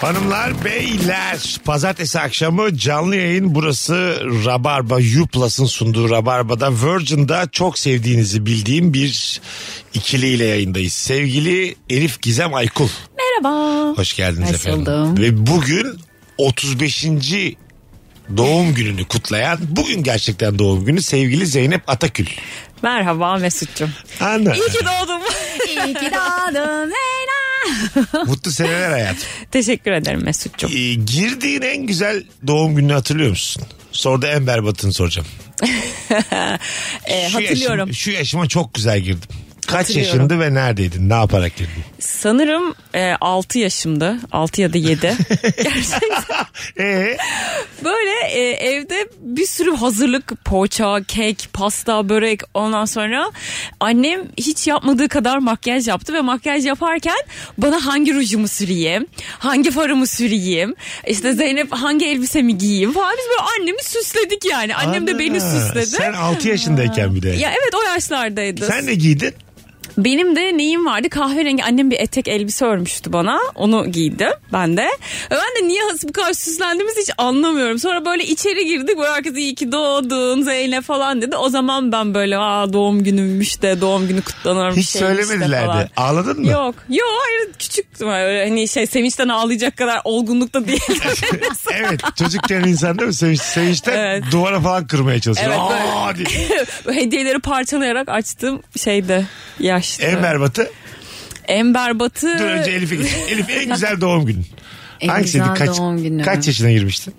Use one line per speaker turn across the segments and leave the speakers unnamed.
Hanımlar beyler pazartesi akşamı canlı yayın burası Rabarba Uplus'ın sunduğu Rabarba'da Virgin'da çok sevdiğinizi bildiğim bir ikiliyle yayındayız. Sevgili Elif Gizem Aykul
Merhaba.
hoş geldiniz
Hoş
efendim.
buldum.
Ve bugün 35. doğum gününü kutlayan bugün gerçekten doğum günü sevgili Zeynep Atakül.
Merhaba Mesut'cum.
Ana
İyi ki doğdum. İyi ki doğdun
mutlu seneler hayatım.
Teşekkür ederim Mesut'cum.
Ee, girdiğin en güzel doğum gününü hatırlıyor musun? Sonra da en berbatını soracağım.
Ee,
Şu yaşım-
hatırlıyorum.
şu yaşıma çok güzel girdim. Kaç
Hatırlıyorum.
yaşındı ve neredeydin? Ne yaparak girdin?
Sanırım e, 6 yaşımdı. 6 ya da 7.
Ee,
Böyle e, evde bir sürü hazırlık poğaça, kek, pasta, börek ondan sonra annem hiç yapmadığı kadar makyaj yaptı ve makyaj yaparken bana hangi rujumu süreyim, hangi farımı süreyim, işte Zeynep hangi elbisemi giyeyim falan biz böyle annemi süsledik yani. Annem de beni
ana,
süsledi.
Sen 6 yaşındayken bir de.
Ya evet o yaşlardaydı.
Sen ne giydin?
Benim de neyim vardı kahverengi annem bir etek elbise örmüştü bana onu giydim ben de. Ben de niye bu kadar süslendiğimizi hiç anlamıyorum. Sonra böyle içeri girdik böyle herkes iyi ki doğdun Zeynep falan dedi. O zaman ben böyle aa doğum günümmüş de doğum günü kutlanırmış.
Hiç
şeymiş de
söylemediler
falan.
de. Ağladın mı?
Yok yok hayır küçüktüm öyle hani şey sevinçten ağlayacak kadar olgunlukta değildim.
evet çocukken insan değil mi? Sevinç, sevinçten
Evet.
duvara falan kırmaya çalışıyor.
Evet, böyle.
Aa diye.
Hediyeleri parçalayarak açtım şeyde yaştı.
En berbatı.
Ember Batı.
Dur önce Elif'e git. Elif en güzel doğum günün.
En
Hangisiydi?
güzel
kaç,
doğum günü.
Kaç yaşına girmiştin?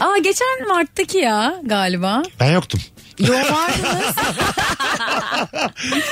Aa geçen Mart'taki ya galiba.
Ben yoktum.
Yo vardınız.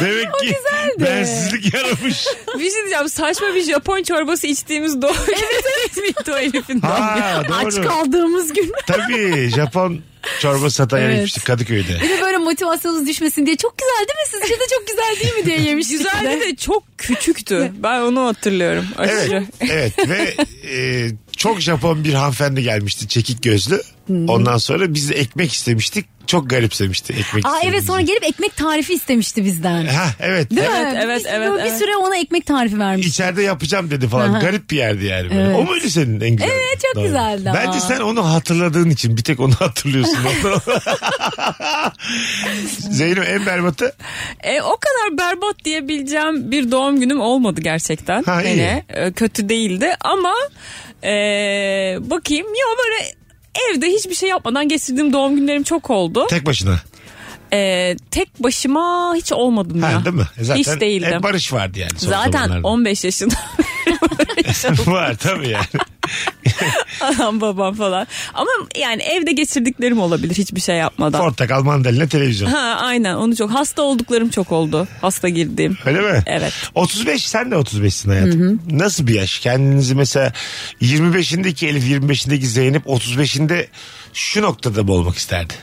Demek ki bensizlik yaramış.
Bir şey diyeceğim saçma bir Japon çorbası içtiğimiz doğru. Evet evet. o herifin doğum günü.
Ha, doğru.
Aç kaldığımız gün.
Tabii Japon çorba satan yere
Evet.
gitmiştik Kadıköy'de.
Bir de böyle motivasyonunuz düşmesin diye. Çok güzel değil mi? Sizce de çok güzel değil mi diye yemiştik.
Güzeldi de çok küçüktü. Ben onu hatırlıyorum. Aşırı.
Evet, evet ve e, çok Japon bir hanımefendi gelmişti çekik gözlü.
Hmm.
Ondan sonra biz de ekmek istemiştik. Çok garipsemişti ekmek
Aa evet
istediğimizi.
sonra gelip ekmek tarifi istemişti bizden.
Ha evet.
Değil
Evet,
mi?
evet,
Biz
evet,
böyle Bir
evet.
süre ona ekmek tarifi vermiş.
İçeride yapacağım dedi falan.
Aha.
Garip bir yerdi yani. böyle.
Evet.
O muydu senin en güzel?
Evet, çok
Doğru.
güzeldi
Bence
ama.
sen onu hatırladığın için bir tek onu hatırlıyorsun. Zeynep en berbatı.
E, o kadar berbat diyebileceğim bir doğum günüm olmadı gerçekten.
Ha, iyi.
Hani, e, kötü değildi ama e, bakayım ya böyle evde hiçbir şey yapmadan geçirdiğim doğum günlerim çok oldu.
Tek başına.
E, tek başıma hiç olmadım
Ha,
ya.
değil mi? E, Zaten
hiç değildim.
Hep barış vardı yani. son
Zaten
zamanlarda.
15 yaşında
Var tabii yani.
anam babam falan. Ama yani evde geçirdiklerim olabilir hiçbir şey yapmadan.
Portakal mandalina televizyon.
Ha aynen onu çok. Hasta olduklarım çok oldu. Hasta girdiğim.
Öyle mi?
Evet.
35 sen de 35'sin hayatım. Nasıl bir yaş? Kendinizi mesela 25'indeki Elif 25'indeki Zeynep 35'inde şu noktada mı olmak isterdi?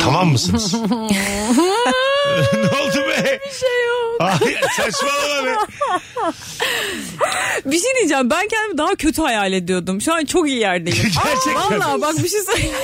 Tamam mısınız? ne oldu be? Bir şey yok. Hayır saçmalama be.
Bir şey diyeceğim ben kendimi daha kötü hayal ediyordum. Şu an çok iyi yerdeyim. Aa,
Gerçekten.
Vallahi bak bir şey söyleyeyim.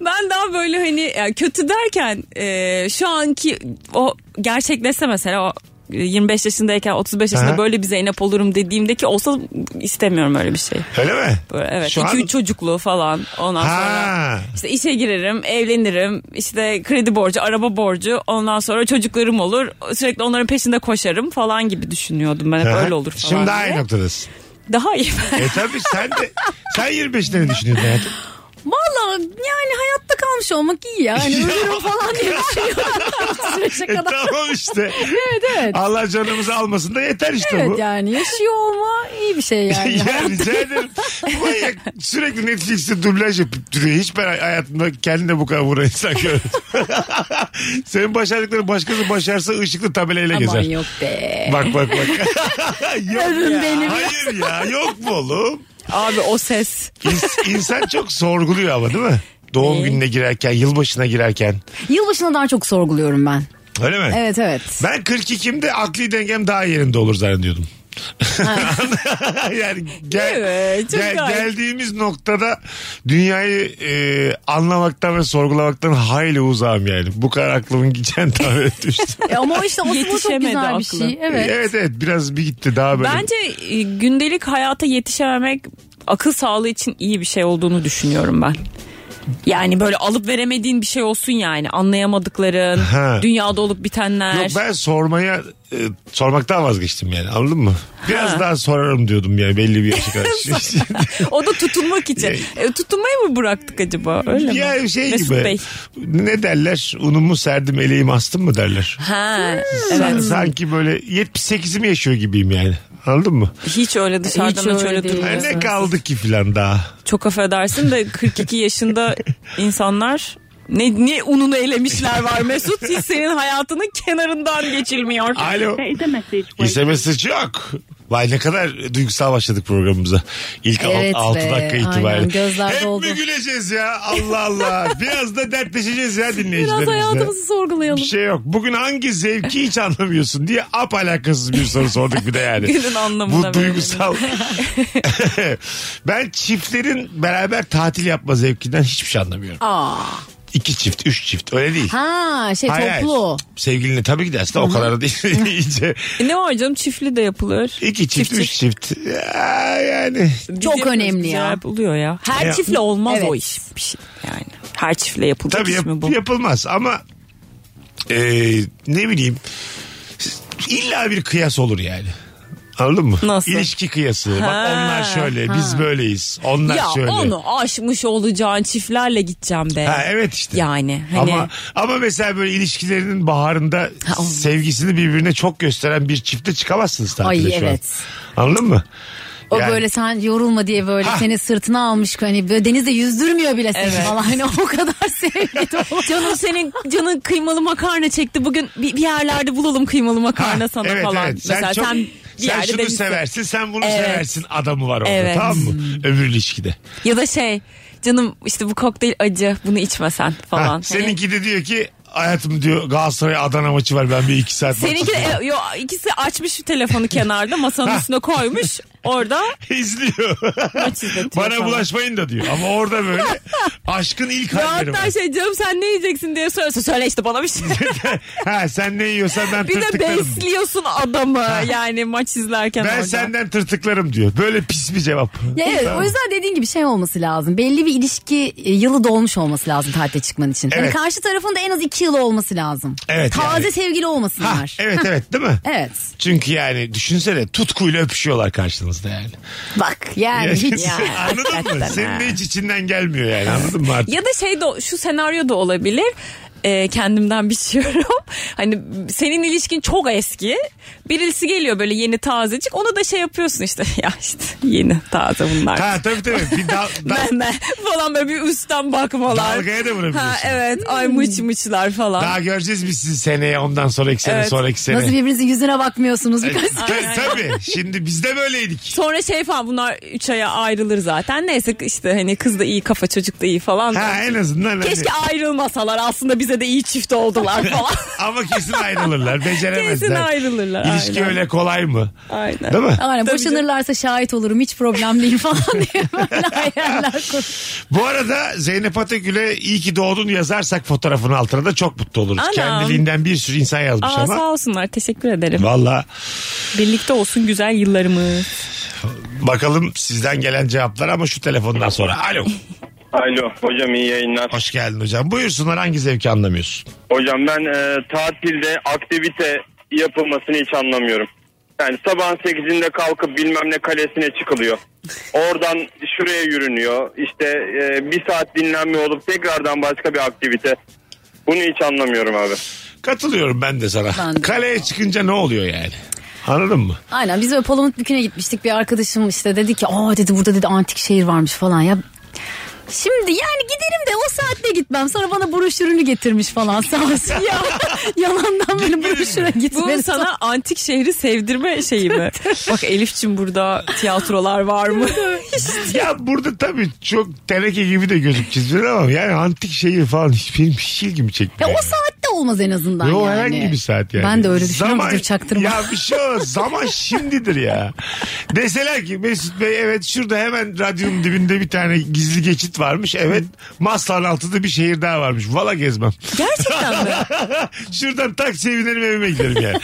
ben daha böyle hani yani kötü derken e, şu anki o gerçekleşse mesela o e, 25 yaşındayken 35 yaşında
Aha.
böyle bir Zeynep olurum dediğimdeki olsa istemiyorum öyle bir şey.
Öyle mi?
Böyle, evet.
Şu
2-3
an-
çocuklu falan. Ondan sonra
Ha.
İşte işe girerim, evlenirim, işte kredi borcu, araba borcu, ondan sonra çocuklarım olur. Sürekli onların peşinde koşarım falan gibi düşünüyordum ben. Hep
Aha.
öyle olur falan
Şimdi
diye.
daha iyi noktadasın.
Daha iyi.
E tabii sen de sen 25'te ne düşünüyorsun hayatım?
Vallahi yani hayatta kalmış olmak iyi ya. Hani ölürüm falan diye düşünüyorum.
E
Şaka kadar.
tamam işte.
Evet evet.
Allah canımızı almasın da yeter işte bu.
Evet yani yaşıyor olma iyi bir şey yani.
ya rica ederim. Bu Manyak sürekli Netflix'te dublaj yapıp duruyor. Hiç ben hayatımda kendine bu kadar vuran insan görmedim. Senin başardıkların başkası başarsa ışıklı tabelayla
Aman
gezer.
yok be.
Bak bak bak. yok.
Övün beni.
Hayır ya yok mu oğlum?
Abi o ses.
İns- insan çok sorguluyor ama değil mi? Doğum gününe girerken, yılbaşına girerken.
Yılbaşına daha çok sorguluyorum ben.
Öyle mi?
Evet evet.
Ben 42'imde akli dengem daha yerinde olur zannediyordum. yani gel,
Evet, çok
gel-
gayet.
geldiğimiz noktada dünyayı e, anlamaktan ve sorgulamaktan hayli uzağım yani. Bu kadar aklımın gideceğini tahmin etmiştim.
E ama o işte aslında çok
Yetişemedi
güzel bir
aklı.
şey. Evet.
evet. evet biraz bir gitti daha böyle.
Bence e, gündelik hayata yetişememek akıl sağlığı için iyi bir şey olduğunu düşünüyorum ben. Yani böyle alıp veremediğin bir şey olsun yani anlayamadıkların,
Ha.
dünyada olup bitenler.
Yok ben sormaya e, sormaktan vazgeçtim yani anladın mı? Biraz
Ha.
daha sorarım diyordum yani belli bir yaşa kadar.
O da tutunmak için.
Ya-
E, tutunmayı mı bıraktık acaba? Öyle mi?
yani şey
Mesut
gibi.
Bey.
Ne derler? Unumu serdim eleğimi astım mı derler.
Ha,
Sa-
evet.
Sanki böyle 78'imi yaşıyor gibiyim yani. Anladın mı?
Hiç öyle dışarıdan
Hiç
hiç,
öyle
öyle
değil.
durmuyor.
Ha,
Evet.
ne kaldı ki filan daha.
Çok affedersin de 42 yaşında insanlar ne, ne ununu elemişler var Mesut. Hiç senin hayatının kenarından geçilmiyor.
Alo.
There is a message waiting.
İstemesi çok. Vay ne kadar duygusal başladık programımıza. İlk
Evet
6
be,
dakika itibariyle.
aynen, gözler
Hep
doldu.
mi güleceğiz ya? Allah Allah. Biraz da dertleşeceğiz ya
Biraz
dinleyicilerimizle.
hayatımızı
Bir
sorgulayalım.
şey yok. Bugün hangi zevki hiç anlamıyorsun diye ap alakasız bir soru sorduk bir de yani.
Günün anlamına
Bu
verelim.
duygusal. ben çiftlerin beraber tatil yapma zevkinden hiçbir şey anlamıyorum. İki çift, üç çift öyle değil.
Ha şey
Hayır, hayır.
toplu.
Sevgilinle tabii ki de aslında o kadar da değil. İyice
E ne var canım çiftli de yapılır.
iki çift, üç çift. Ya, yani
Çok
Bizim
önemli ya.
acayip oluyor ya. Her
Ya.
çiftle olmaz
Evet.
o iş. Bir şey yani. Her çiftle yapılacak
tabii
iş
yap-
mi bu?
yapılmaz ama e, ne bileyim illa bir kıyas olur yani. Anladın mı?
Nasıl?
İlişki kıyası. Bak
Ha,
onlar şöyle, biz böyleyiz. Onlar
Ya
şöyle.
onu aşmış olacağın çiftlerle gideceğim be.
Ha evet işte.
Yani hani
Ama ama mesela böyle ilişkilerinin baharında
olmaz.
sevgisini birbirine çok gösteren bir çifte çıkamazsınız tatile
Ay,
şu
evet.
an. Anladın mı?
O
Yani-
böyle sen yorulma diye böyle
Ha.
seni sırtına almış hani böyle denizde yüzdürmüyor bile seni
Evet.
falan. Hani o kadar sevgi dolu.
Canım senin canın kıymalı makarna çekti. Bugün bir, bir yerlerde bulalım kıymalı makarna
Ha,
sana
evet,
falan.
evet. Sen,
Mesela
çok,
sen
sen,
bir yerde
şunu
demişsin.
seversin, sen bunu
Evet.
seversin adamı var orada
Evet.
tamam mı? Öbür ilişkide.
Ya da şey canım işte bu kokteyl acı bunu içmesen
Ha,
falan. Hani-
seninki de diyor ki hayatım diyor Galatasaray Adana maçı var ben bir iki saat maç
Seninki de e, yo, ikisi açmış telefonu kenarda masanın üstüne koymuş. Orada
izliyor.
maç izletiyor
Bana
falan.
bulaşmayın da diyor. Ama orada böyle aşkın ilk
Ya
halleri var.
hatta şey canım sen ne yiyeceksin diye sorarsa söyle işte bana bir şey.
ha, sen ne yiyorsan ben
bir de
tırtıklarım.
besliyorsun adamı yani maç izlerken
Ben
orada.
senden tırtıklarım diyor. Böyle pis bir cevap.
Ya evet, o yüzden dediğin gibi şey olması lazım. Belli bir ilişki e, yılı dolmuş olması lazım tatile çıkman için. Yani
Evet.
karşı tarafın da en az iki yıl olması lazım.
Evet,
Taze
yani.
sevgili
Ha,
olmasınlar.
evet evet değil mi?
Evet.
Çünkü yani düşünsene tutkuyla öpüşüyorlar karşınızda yani.
Bak yani hiç.
anladın mı?
Hakikaten
Senin
ha.
de hiç içinden gelmiyor yani anladın mı artık?
Ya da şey de şu senaryo da olabilir. Ee, kendimden biçiyorum. hani senin ilişkin çok eski. Birisi geliyor böyle yeni tazecik. Ona da şey yapıyorsun işte. Ya işte yeni taze bunlar.
Ha tabii tabii. Bir dal, dal,
Ben de falan böyle bir üstten bakmalar.
dalgaya da vurabiliyorsun.
Ha evet ay mıç mıçlar falan.
Daha göreceğiz biz sizi seneye ondan sonraki sene
Evet.
sonraki sene.
Nasıl birbirinizin yüzüne bakmıyorsunuz birkaç
Ta- tabii şimdi biz de böyleydik.
Sonra şey falan bunlar 3 aya ayrılır zaten. Neyse işte hani kız da iyi kafa çocuk da iyi falan.
Ha en azından. hani-
Keşke ayrılmasalar aslında bize de iyi çift oldular falan.
Ama kesin ayrılırlar. Beceremezler.
Kesin ayrılırlar,
İlişki
aynen.
öyle kolay mı?
Aynen.
Değil mi?
Aynen
Tabii
boşanırlarsa şahit olurum hiç problem değil falan diye böyle hayaller kur.
Bu arada Zeynep Atakül'e iyi ki doğdun yazarsak fotoğrafın altına da çok mutlu oluruz.
Anam.
Kendiliğinden bir sürü insan yazmış
Aa,
ama.
sağ olsunlar teşekkür ederim.
Valla
Birlikte olsun güzel yıllarımız.
bakalım sizden gelen cevaplar ama şu telefondan sonra. Alo.
Alo hocam iyi yayınlar.
Hoş geldin hocam. Buyursunlar hangi zevki anlamıyorsun?
Hocam ben e, tatilde aktivite yapılmasını hiç anlamıyorum. Yani sabahın 8'inde kalkıp bilmem ne kalesine çıkılıyor. Oradan şuraya yürünüyor. İşte e, bir saat dinlenme olup tekrardan başka bir aktivite. Bunu hiç anlamıyorum abi.
Katılıyorum ben de sana.
Ben de.
Kaleye çıkınca ne oluyor yani? Anladın mı?
Aynen biz böyle Palamut Bükü'ne gitmiştik bir arkadaşım işte dedi ki aa dedi burada dedi antik şehir varmış falan ya. Şimdi yani giderim de o saatte gitmem. Sonra bana broşürünü getirmiş falan sağ olsun ya. Yalandan böyle broşüre
Bu
gitmeni
sana antik şehri sevdirme şeyi mi? Bak Elifçim burada tiyatrolar var mı?
ya burada tabii çok teneke gibi de gözükeceğiz biraz ama yani antik şehir falan hiç benim hiç ilgimi
Ya
çekmiyor.
o saatte olmaz en azından
Yo,
yani.
herhangi bir saat yani.
Ben de öyle düşünüyorum. Dur çaktırma.
Ya bir şey olmaz. Zaman şimdidir ya. Deseler ki Mesut Bey evet şurada hemen radyonun dibinde bir tane gizli geçit varmış. Evet Maslak'ın altında bir şehir daha varmış. Valla gezmem.
Gerçekten mi?
Şuradan taksiye binerim evime giderim yani.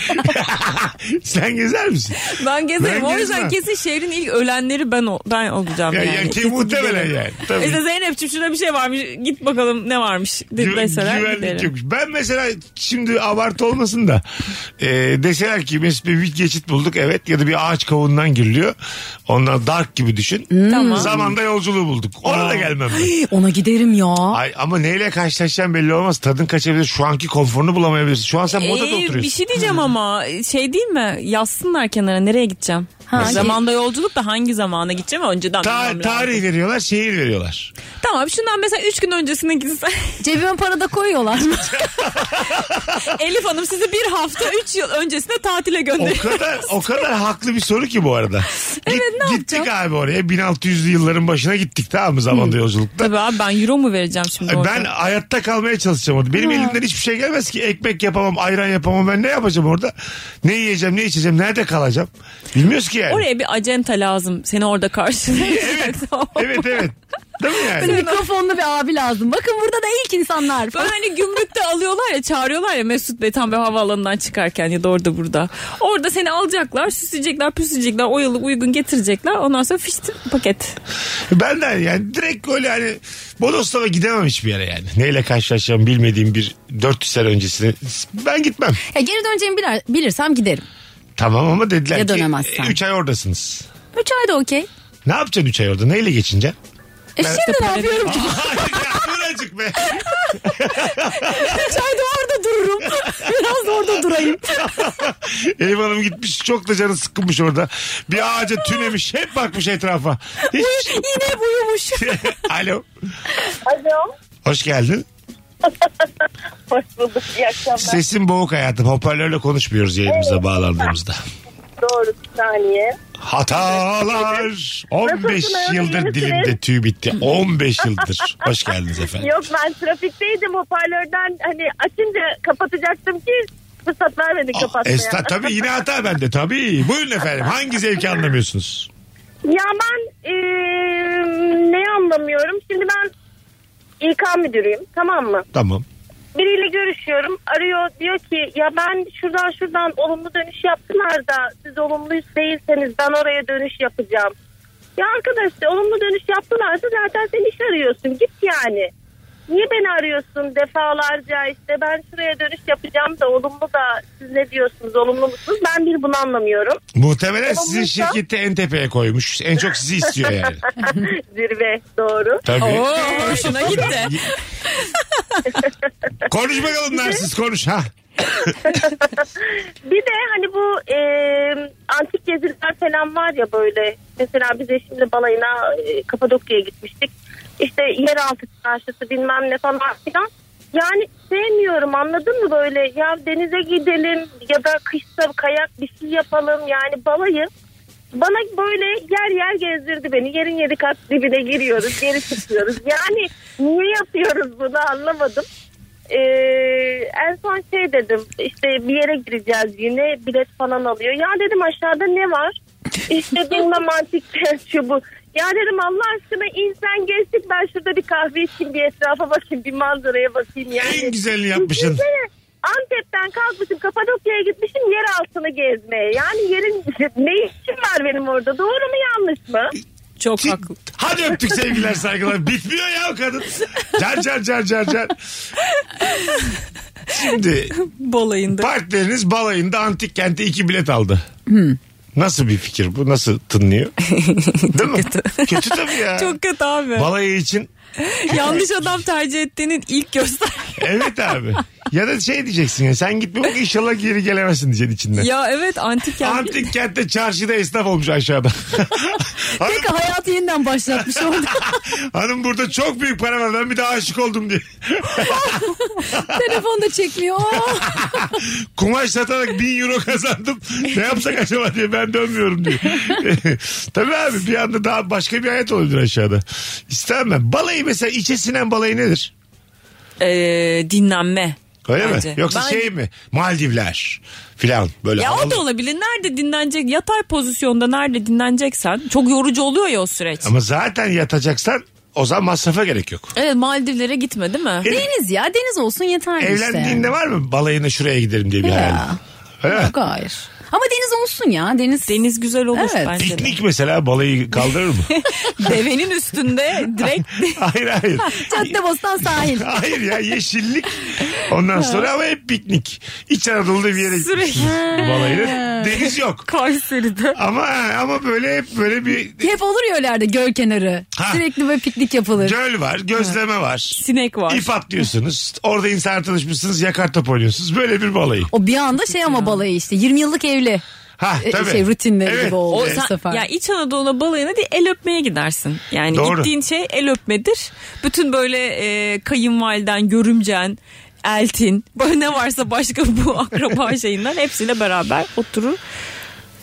Sen gezer misin?
Ben gezerim.
Ben
o yüzden
gezmem.
kesin şehrin ilk ölenleri ben ol- ben olacağım
Ya,
yani. E
ya ki
Kesin
muhtemelen
giderim.
yani. Tabii.
İşte Zeynep'ciğim şurada bir şey varmış. Git bakalım ne varmış de-
Gü-
deseler
güvenlik
giderim.
yokmuş. Ben mesela şimdi abartı olmasın da e, deseler ki mesela bir geçit bulduk evet ya da bir ağaç kavundan giriliyor. Ondan dark gibi düşün.
Hmm. Tamam.
Zamanda yolculuğu bulduk. Ona da gelmem ben.
Ona giderim ya.
Ay, ama neyle karşılaşacağım belli olmaz. Tadın kaçabilir. Şu anki konforunu bulamayabilirsin. Şu an sen modada
Ee,
oturuyorsun. Hmm.
bir şey diyeceğim ama şey değil mi? Yazsınlar kenara nereye gideceğim?
Ha,
Zamanda yolculuk da hangi zamana gideceğim önceden.
Ta-
bilmem lazım.
tarih veriyorlar, şehir veriyorlar.
Tamam şundan mesela 3 gün öncesine gitsen.
Cebime para da koyuyorlar mı?
Elif Hanım sizi bir hafta 3 yıl öncesine tatile
O
gönderiyor.
kadar o kadar haklı bir soru ki bu arada.
Evet,
Git-
ne
gittik abi oraya. 1600'lü yılların başına gittik tamam mı zamanda yolculukta.
Tabii abi ben euro mu vereceğim şimdi orada?
Ben hayatta kalmaya çalışacağım orada. Benim elimden hiçbir şey gelmez ki. Ekmek yapamam, ayran yapamam. Ben ne yapacağım orada? Ne yiyeceğim, ne içeceğim, nerede kalacağım? Bilmiyoruz ki yani.
Oraya bir acenta lazım. Seni orada karşılayacak.
Evet, evet, evet. Değil mi yani?
Mikrofonlu bir abi lazım. Bakın burada da ilk insanlar.
Böyle hani gümrükte alıyorlar ya çağırıyorlar ya Mesut Bey tam bir havaalanından çıkarken ya da orada burada. Orada seni alacaklar süsleyecekler püsleyecekler o yılı uygun getirecekler ondan sonra fişt paket.
Ben de yani direkt öyle hani Bodoslava gidemem hiçbir yere yani. Neyle karşılaşacağım bilmediğim bir 400 sene öncesine. Ben gitmem.
Ya geri döneceğimi bilir, bilirsem giderim.
Tamam ama dediler
Ya
ki
dönemezsen.
3 ay oradasınız.
Üç ay da okey.
Ne yapacaksın 3 ay orada? Neyle geçineceksin?
E şimdi ne yapıyorum ki?
Hayır ya birazcık be.
Üç ay da orada dururum. Biraz da orada durayım.
Elif Hanım gitmiş çok da canı sıkkınmış orada. Bir ağaca tünemiş hep bakmış etrafa. Hiç.
Yine hep uyumuş.
Alo.
Alo.
Hoş geldin.
Hoş bulduk. İyi akşamlar.
Sesin boğuk hayatım. Hoparlörle konuşmuyoruz yayınımıza bağlandığımızda.
Doğru bir saniye.
Hatalar. 15
Nasılsın,
yıldır
iyi
dilimde
misin?
tüy bitti. 15 yıldır. Hoş geldiniz efendim.
Yok ben trafikteydim hoparlörden hani açınca kapatacaktım ki fırsat vermedi kapatmaya.
Esta, Ah, tabii yine hata bende tabii. Buyurun efendim. Hangi zevki anlamıyorsunuz?
Ya ben eee, ne anlamıyorum? Şimdi ben İK müdürüyüm tamam mı?
Tamam.
Biriyle görüşüyorum. Arıyor diyor ki ya ben şuradan şuradan olumlu dönüş yaptılar da siz olumlu değilseniz ben oraya dönüş yapacağım. Ya arkadaş olumlu dönüş yaptılarsa zaten sen iş arıyorsun git yani. Niye beni arıyorsun defalarca işte ben şuraya dönüş yapacağım da olumlu da siz ne diyorsunuz olumlu musunuz ben bir bunu anlamıyorum.
Muhtemelen sizin
Olumluysa-
şirketi en tepeye koymuş. En çok sizi istiyor yani.
Zirve doğru.
Tabii.
Oo hoşuna gitti.
Konuş bakalım narsiz konuş ha.
Bir de hani bu e, antik geziler falan var ya böyle. Mesela biz eşimle balayına e, Kapadokya'ya gitmiştik. İşte yeraltı çarşısı bilmem ne falan filan. Yani sevmiyorum anladın mı böyle ya denize gidelim ya da kışta kayak bir şey yapalım yani balayı. Bana böyle yer yer gezdirdi beni. Yerin yedi kat dibine giriyoruz, geri çıkıyoruz. Yani niye yapıyoruz bunu anlamadım. Ee, en son şey dedim işte bir yere gireceğiz yine bilet falan alıyor. Ya dedim aşağıda ne var? İşte bilmem antik kent şu bu. Ya dedim Allah aşkına insan geçtik ben şurada bir kahve içeyim bir etrafa bakayım bir manzaraya bakayım yani. şey
En güzelini yapmışsın.
Düşünsene, Antep'ten kalkmışım Kapadokya'ya gitmişim yer altını gezmeye. Yani yerin ne işim var benim orada doğru mu yanlış mı?
Çok haklı.
Hadi öptük sevgiler saygılar. Bitmiyor ya o kadın. Car car car car car. Şimdi
Bolayında.
partneriniz balayında antik kente iki bilet aldı.
Hmm.
Nasıl bir fikir bu? Nasıl tınlıyor? Değil mi? Kötü. tabii ya.
Çok kötü abi.
Balayı için
Yanlış adam tercih ettiğinin ilk göster.
evet abi. Ya da şey diyeceksin ya sen gitme bak inşallah geri gelemezsin diyeceksin içinden.
ya evet antik kent.
Antik kentte çarşıda esnaf olmuş aşağıda. hanım,
Peki hayatı yeniden başlatmış oldu.
hanım burada çok büyük para var ben bir daha aşık oldum diye.
Telefonu da çekmiyor.
Kumaş satarak bin euro kazandım. Ne yapsak acaba diye ben dönmüyorum diyor. Tabii abi bir anda daha başka bir hayat olabilir aşağıda. İstemem. Balayı mesela içe sinen balayı nedir?
Ee, dinlenme.
Öyle
Bence.
mi? Yoksa
Bence-
şey mi? Maldivler filan böyle.
Ya o
havalı-
da olabilir. Nerede dinlenecek? Yatay pozisyonda nerede dinleneceksen. Çok yorucu oluyor ya o süreç.
Ama zaten yatacaksan o zaman masrafa gerek yok.
Evet Maldivlere gitme değil mi?
deniz ya deniz olsun yeterli işte.
Evlendiğinde var mı balayına şuraya giderim diye bir hayal?
Ya.
Öyle mi?
Yok hayır. Ama deniz olsun ya deniz.
Deniz güzel olur
Evet.
bence de.
Piknik mesela balayı kaldırır mı?
Devenin üstünde direkt
hayır hayır.
Caddebostan sahil.
Hayır ya yeşillik. Ondan sonra ama hep piknik. İç Anadolu'da bir yere
Sürekli.
balayına. Deniz yok.
Kayseri'de.
Ama ama böyle hep böyle bir
Hep olur ya öyle yerde göl kenarı.
Ha.
Sürekli böyle piknik yapılır.
göl var, gözleme var.
Sinek var.
İp atlıyorsunuz. Orada insan tanışmışsınız. Yakar top oynuyorsunuz. Böyle bir balayı.
O bir anda şey ama balayı işte 20 yıllık evli.
Ha
E,
tabii.
Şey rutinleri
Evet.
gibi oldu
O
bu
sen-
sefer.
ya İç Anadolu balayına değil el öpmeye gidersin. Yani
Doğru.
gittiğin şey el öpmedir. Bütün böyle e, kayınvaliden, görümcen, eltin, böyle ne varsa başka bu akraba şeyinden hepsiyle beraber oturur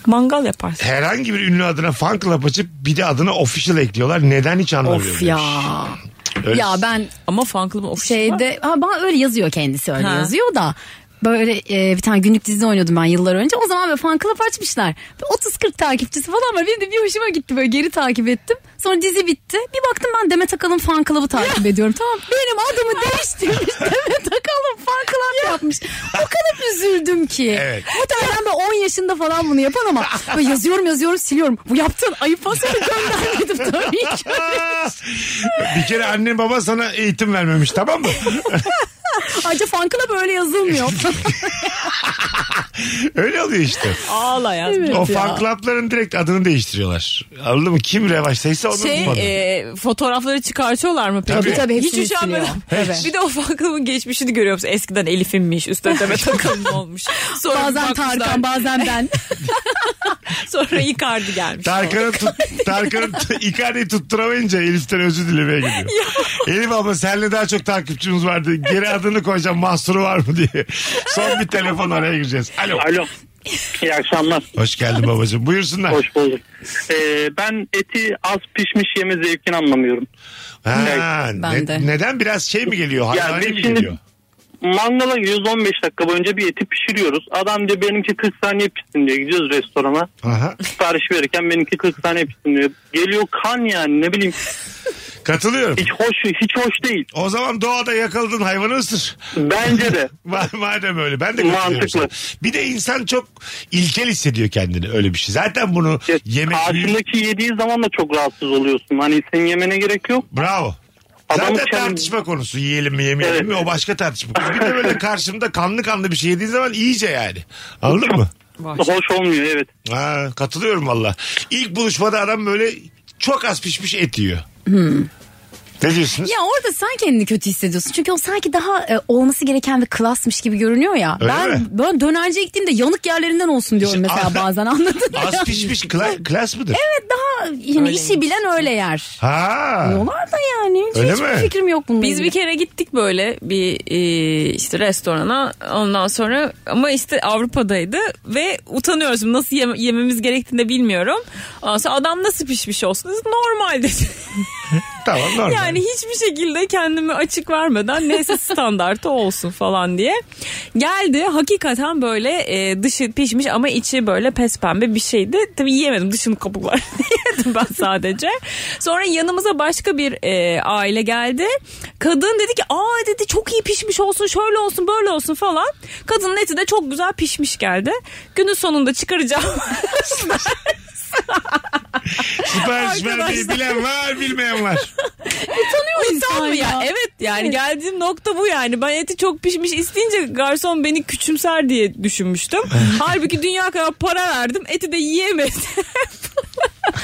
mangal yaparsın.
Herhangi bir ünlü adına fan club açıp bir de adına official ekliyorlar. Neden hiç anlamıyorum. demiş.
of ya.
Öyle- şey.
Ya ben
Ama fan clubı ofisi şey var.
şeyde ha, bana öyle yazıyor kendisi öyle
Ha.
yazıyor da böyle e, bir tane günlük dizide oynuyordum ben yıllar önce. O zaman böyle fan club açmışlar. Böyle 30-40 takipçisi falan var. Benim de bir hoşuma gitti böyle geri takip ettim. Sonra dizi bitti. Bir baktım ben Demet Akalın fan club'ı takip ediyorum. Tamam benim adımı değiştirmiş Demet Akalın fan club yapmış. O kadar üzüldüm ki.
Evet.
Muhtemelen ben 10 yaşında falan bunu yapan ama böyle yazıyorum yazıyorum siliyorum. Bu yaptığın ayıp fasulye göndermedim tabii ki.
Aa! bir kere annen baba sana eğitim vermemiş tamam mı?
Ayrıca fan club öyle yazılmıyor.
Öyle oluyor işte.
Ağla ya.
Evet
o
ya.
fan club'ların direkt adını değiştiriyorlar. Anladın mı? Kim revaçtaysa onun
Şey
adı.
e, fotoğrafları çıkartıyorlar mı peki?
Tabii,
tabii,
Hiç
hepsini
üşenmeden.
siliyor. Evet.
Bir de o fan club'ın geçmişini görüyoruz. Eskiden Elif'inmiş, üstüne Demet Akalın olmuş. Sonra
Bazen
bakmışlar,
Tarkan bazen ben.
Sonra Icardi gelmiş.
Tarkan'ı tut, Tarkan'ı t- Icardi'yi tutturamayınca Elif'ten özür dilemeye gidiyor. Elif abla senle daha çok takipçimiz vardı. Geri adını koyacağım mahsuru var mı diye. Son bir telefon araya gireceğiz. Alo.
Alo. İyi akşamlar.
Hoş geldin babacığım. Buyursunlar.
Hoş bulduk. Ee, ben eti az pişmiş yeme zevkini anlamıyorum.
Ha,
Ben
ne-
de.
neden biraz şey mi geliyor? Hayvani
biz
mi
şimdi-
geliyor?
Mangala 115 dakika boyunca bir eti pişiriyoruz. Adam diyor benimki 40 saniye pişsin diyor. Gidiyoruz restorana.
Aha.
Sipariş verirken benimki 40 saniye pişsin diyor. Geliyor kan yani ne bileyim.
Katılıyorum.
Hiç hoş hiç hoş değil.
O zaman doğada yakaladığın hayvanı ısır.
Bence de.
Ma- Madem öyle ben de katılıyorum
Mantıklı.
sana. Bir de insan çok ilkel hissediyor kendini öyle bir şey. Zaten bunu
Ya,
yemek...
Karşındaki yediği zaman da çok rahatsız oluyorsun. Hani senin yemene gerek yok.
Bravo.
Adam
Zaten
uçan-
tartışma konusu yiyelim mi yemeyelim
Evet.
mi o başka tartışma konusu. Bir de böyle karşımda kanlı kanlı bir şey yediğin zaman iyice yani. Anladın mı?
Hoş olmuyor evet.
Ha, katılıyorum valla. İlk buluşmada adam böyle çok az pişmiş et yiyor. Ne diyorsunuz?
Hmm. ya orada sen kendini kötü hissediyorsun. Çünkü o sanki daha e, olması gereken bir klasmış gibi görünüyor ya.
Öyle
ben
mi?
ben dönerciye gittiğimde yanık yerlerinden olsun diyorum
İşte
mesela
az-
bazen anladın mı?
Az pişmiş kla- klas mıdır?
Evet daha yani işi bilen öyle yer.
Ha.
Diyorlar da yani. Hiç-
Öyle
hiçbir
mi?
fikrim yok bununla
Biz bir
ilgili.
kere gittik böyle bir e, işte restorana ondan sonra ama işte Avrupa'daydı ve utanıyoruz nasıl yem- yememiz gerektiğini de bilmiyorum. Ondan sonra adam nasıl pişmiş olsun dedi, normal dedi.
Tamam normal.
Yani hiçbir şekilde kendimi açık vermeden neyse standartı olsun falan diye. Geldi hakikaten böyle e, dışı pişmiş ama içi böyle pespembe bir şeydi. Tabii yiyemedim dışını kabuklar yedim ben sadece. Sonra yanımıza başka bir e, aile geldi. Kadın dedi ki aa dedi çok iyi pişmiş olsun şöyle olsun böyle olsun falan. Kadının eti de çok güzel pişmiş geldi. Günün sonunda çıkaracağım.
Sipariş vermeyi
Arkadaşlar.
bilen var bilmeyen var.
Utan mı ya? Evet yani geldiğim nokta bu yani. Ben eti çok pişmiş isteyince garson beni küçümser diye düşünmüştüm. Halbuki dünya kadar para verdim. Eti de yiyemedim.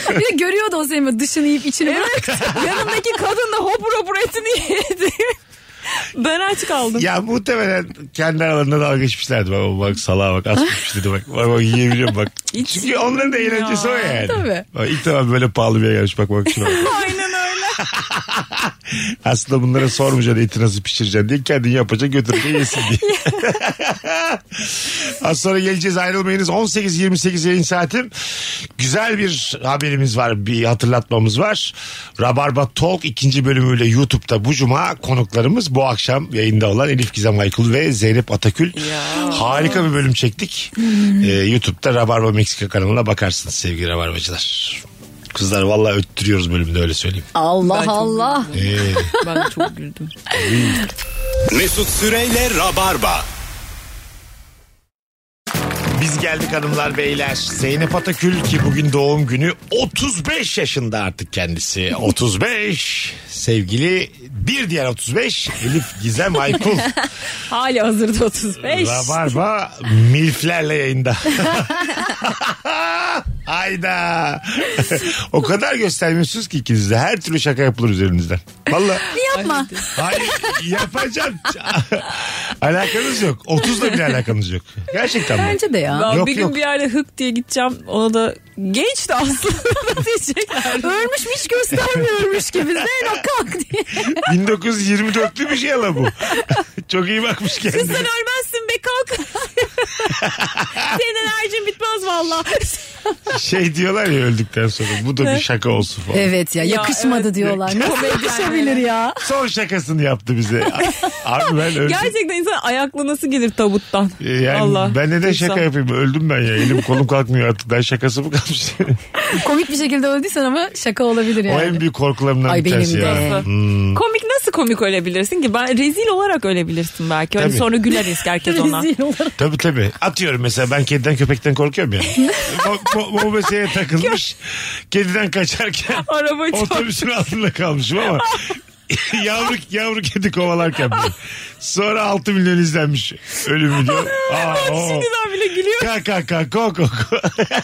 Bir de görüyordu o senin böyle dışını yiyip içini bırak.
Yanımdaki kadın da hopur hopur etini yedi. Ben aç kaldım.
Ya muhtemelen kendi aralarında dalga geçmişlerdi. Bak o bak salağa bak asmış dedi bak. Bak bak yiyebiliyorum bak.
Hiç
Çünkü onların da eğlencesi o yani.
Tabii.
Bak, ilk defa böyle pahalı bir yer gelmiş bak bak şuna. bak.
Aynen öyle.
Aslında bunlara sormayacaksın eti nasıl pişireceksin diye kendin yapacak götürüp yesin diye. Az sonra geleceğiz ayrılmayınız. 18-28 yayın saatim. Güzel bir haberimiz var bir hatırlatmamız var. Rabarba Talk ikinci bölümüyle YouTube'da bu cuma konuklarımız bu akşam yayında olan Elif Gizem Aykul ve Zeynep Atakül. Harika bir bölüm çektik. Ee, YouTube'da Rabarba Meksika kanalına bakarsınız sevgili Rabarbacılar. Kızlar vallahi öttürüyoruz bölümde öyle söyleyeyim.
Allah Allah.
Ee,
Ben çok güldüm.
Mesut Süreyle Rabarba.
Biz geldik hanımlar beyler. Zeynep Atakül ki bugün doğum günü 35 yaşında artık kendisi. 35 sevgili bir diğer 35 Elif Gizem Aykul.
Hali hazırda 35.
Rabarba milflerle yayında. Hayda. o kadar göstermiyorsunuz ki ikiniz de. Her türlü şaka yapılır üzerinizden. Valla.
Yapma.
Hayır yapacağım. alakanız yok. 30'la bile alakanız yok. Gerçekten mi?
Bence de ya.
Ben
Yok,
bir gün
yok.
bir yerde hık diye gideceğim. Ona da genç de aslında diyecekler.
Ölmüş mü hiç göstermiyormuş gibi. Zeyno kalk diye.
1924'lü bir şey ama bu. Çok iyi bakmış
Kız
kendine.
sen ölmezsin be kalk. Senin enerjin bitmez valla.
Şey diyorlar ya öldükten sonra bu da bir şaka olsun falan.
Evet ya
Ya,
yakışmadı
evet.
diyorlar. Nasıl yakışabilir ya?
Son şakasını yaptı bize. Abi ben öldüm.
Gerçekten insan ayaklı nasıl gelir tabuttan?
Yani
Vallahi.
ben neden
İnsan.
şaka yapayım? Öldüm ben ya. Elim kolum kalkmıyor artık. Ben şakası mı kalmış?
Komik bir şekilde öldüysen ama şaka olabilir
o
yani.
en büyük korkularımdan
Ay
bir tanesi Hmm.
benim de.
ya.
Komik nasıl komik ölebilirsin ki? Ben rezil olarak ölebilirsin belki. Hani
Tabii.
sonra güleriz herkes ona.
Rezil olarak.
Tabii tabii. Atıyorum mesela ben kediden köpekten korkuyorum ya. bu, bu, bu meseleye takılmış. kediden kaçarken
Araba çok
otobüsün altında kalmışım ama yavru yavru kedi kovalarken bile. Sonra 6 milyon izlenmiş ölüm video. Aa, o.
şimdiden bile gülüyor.
Kalk kalk kalk ko ko ko.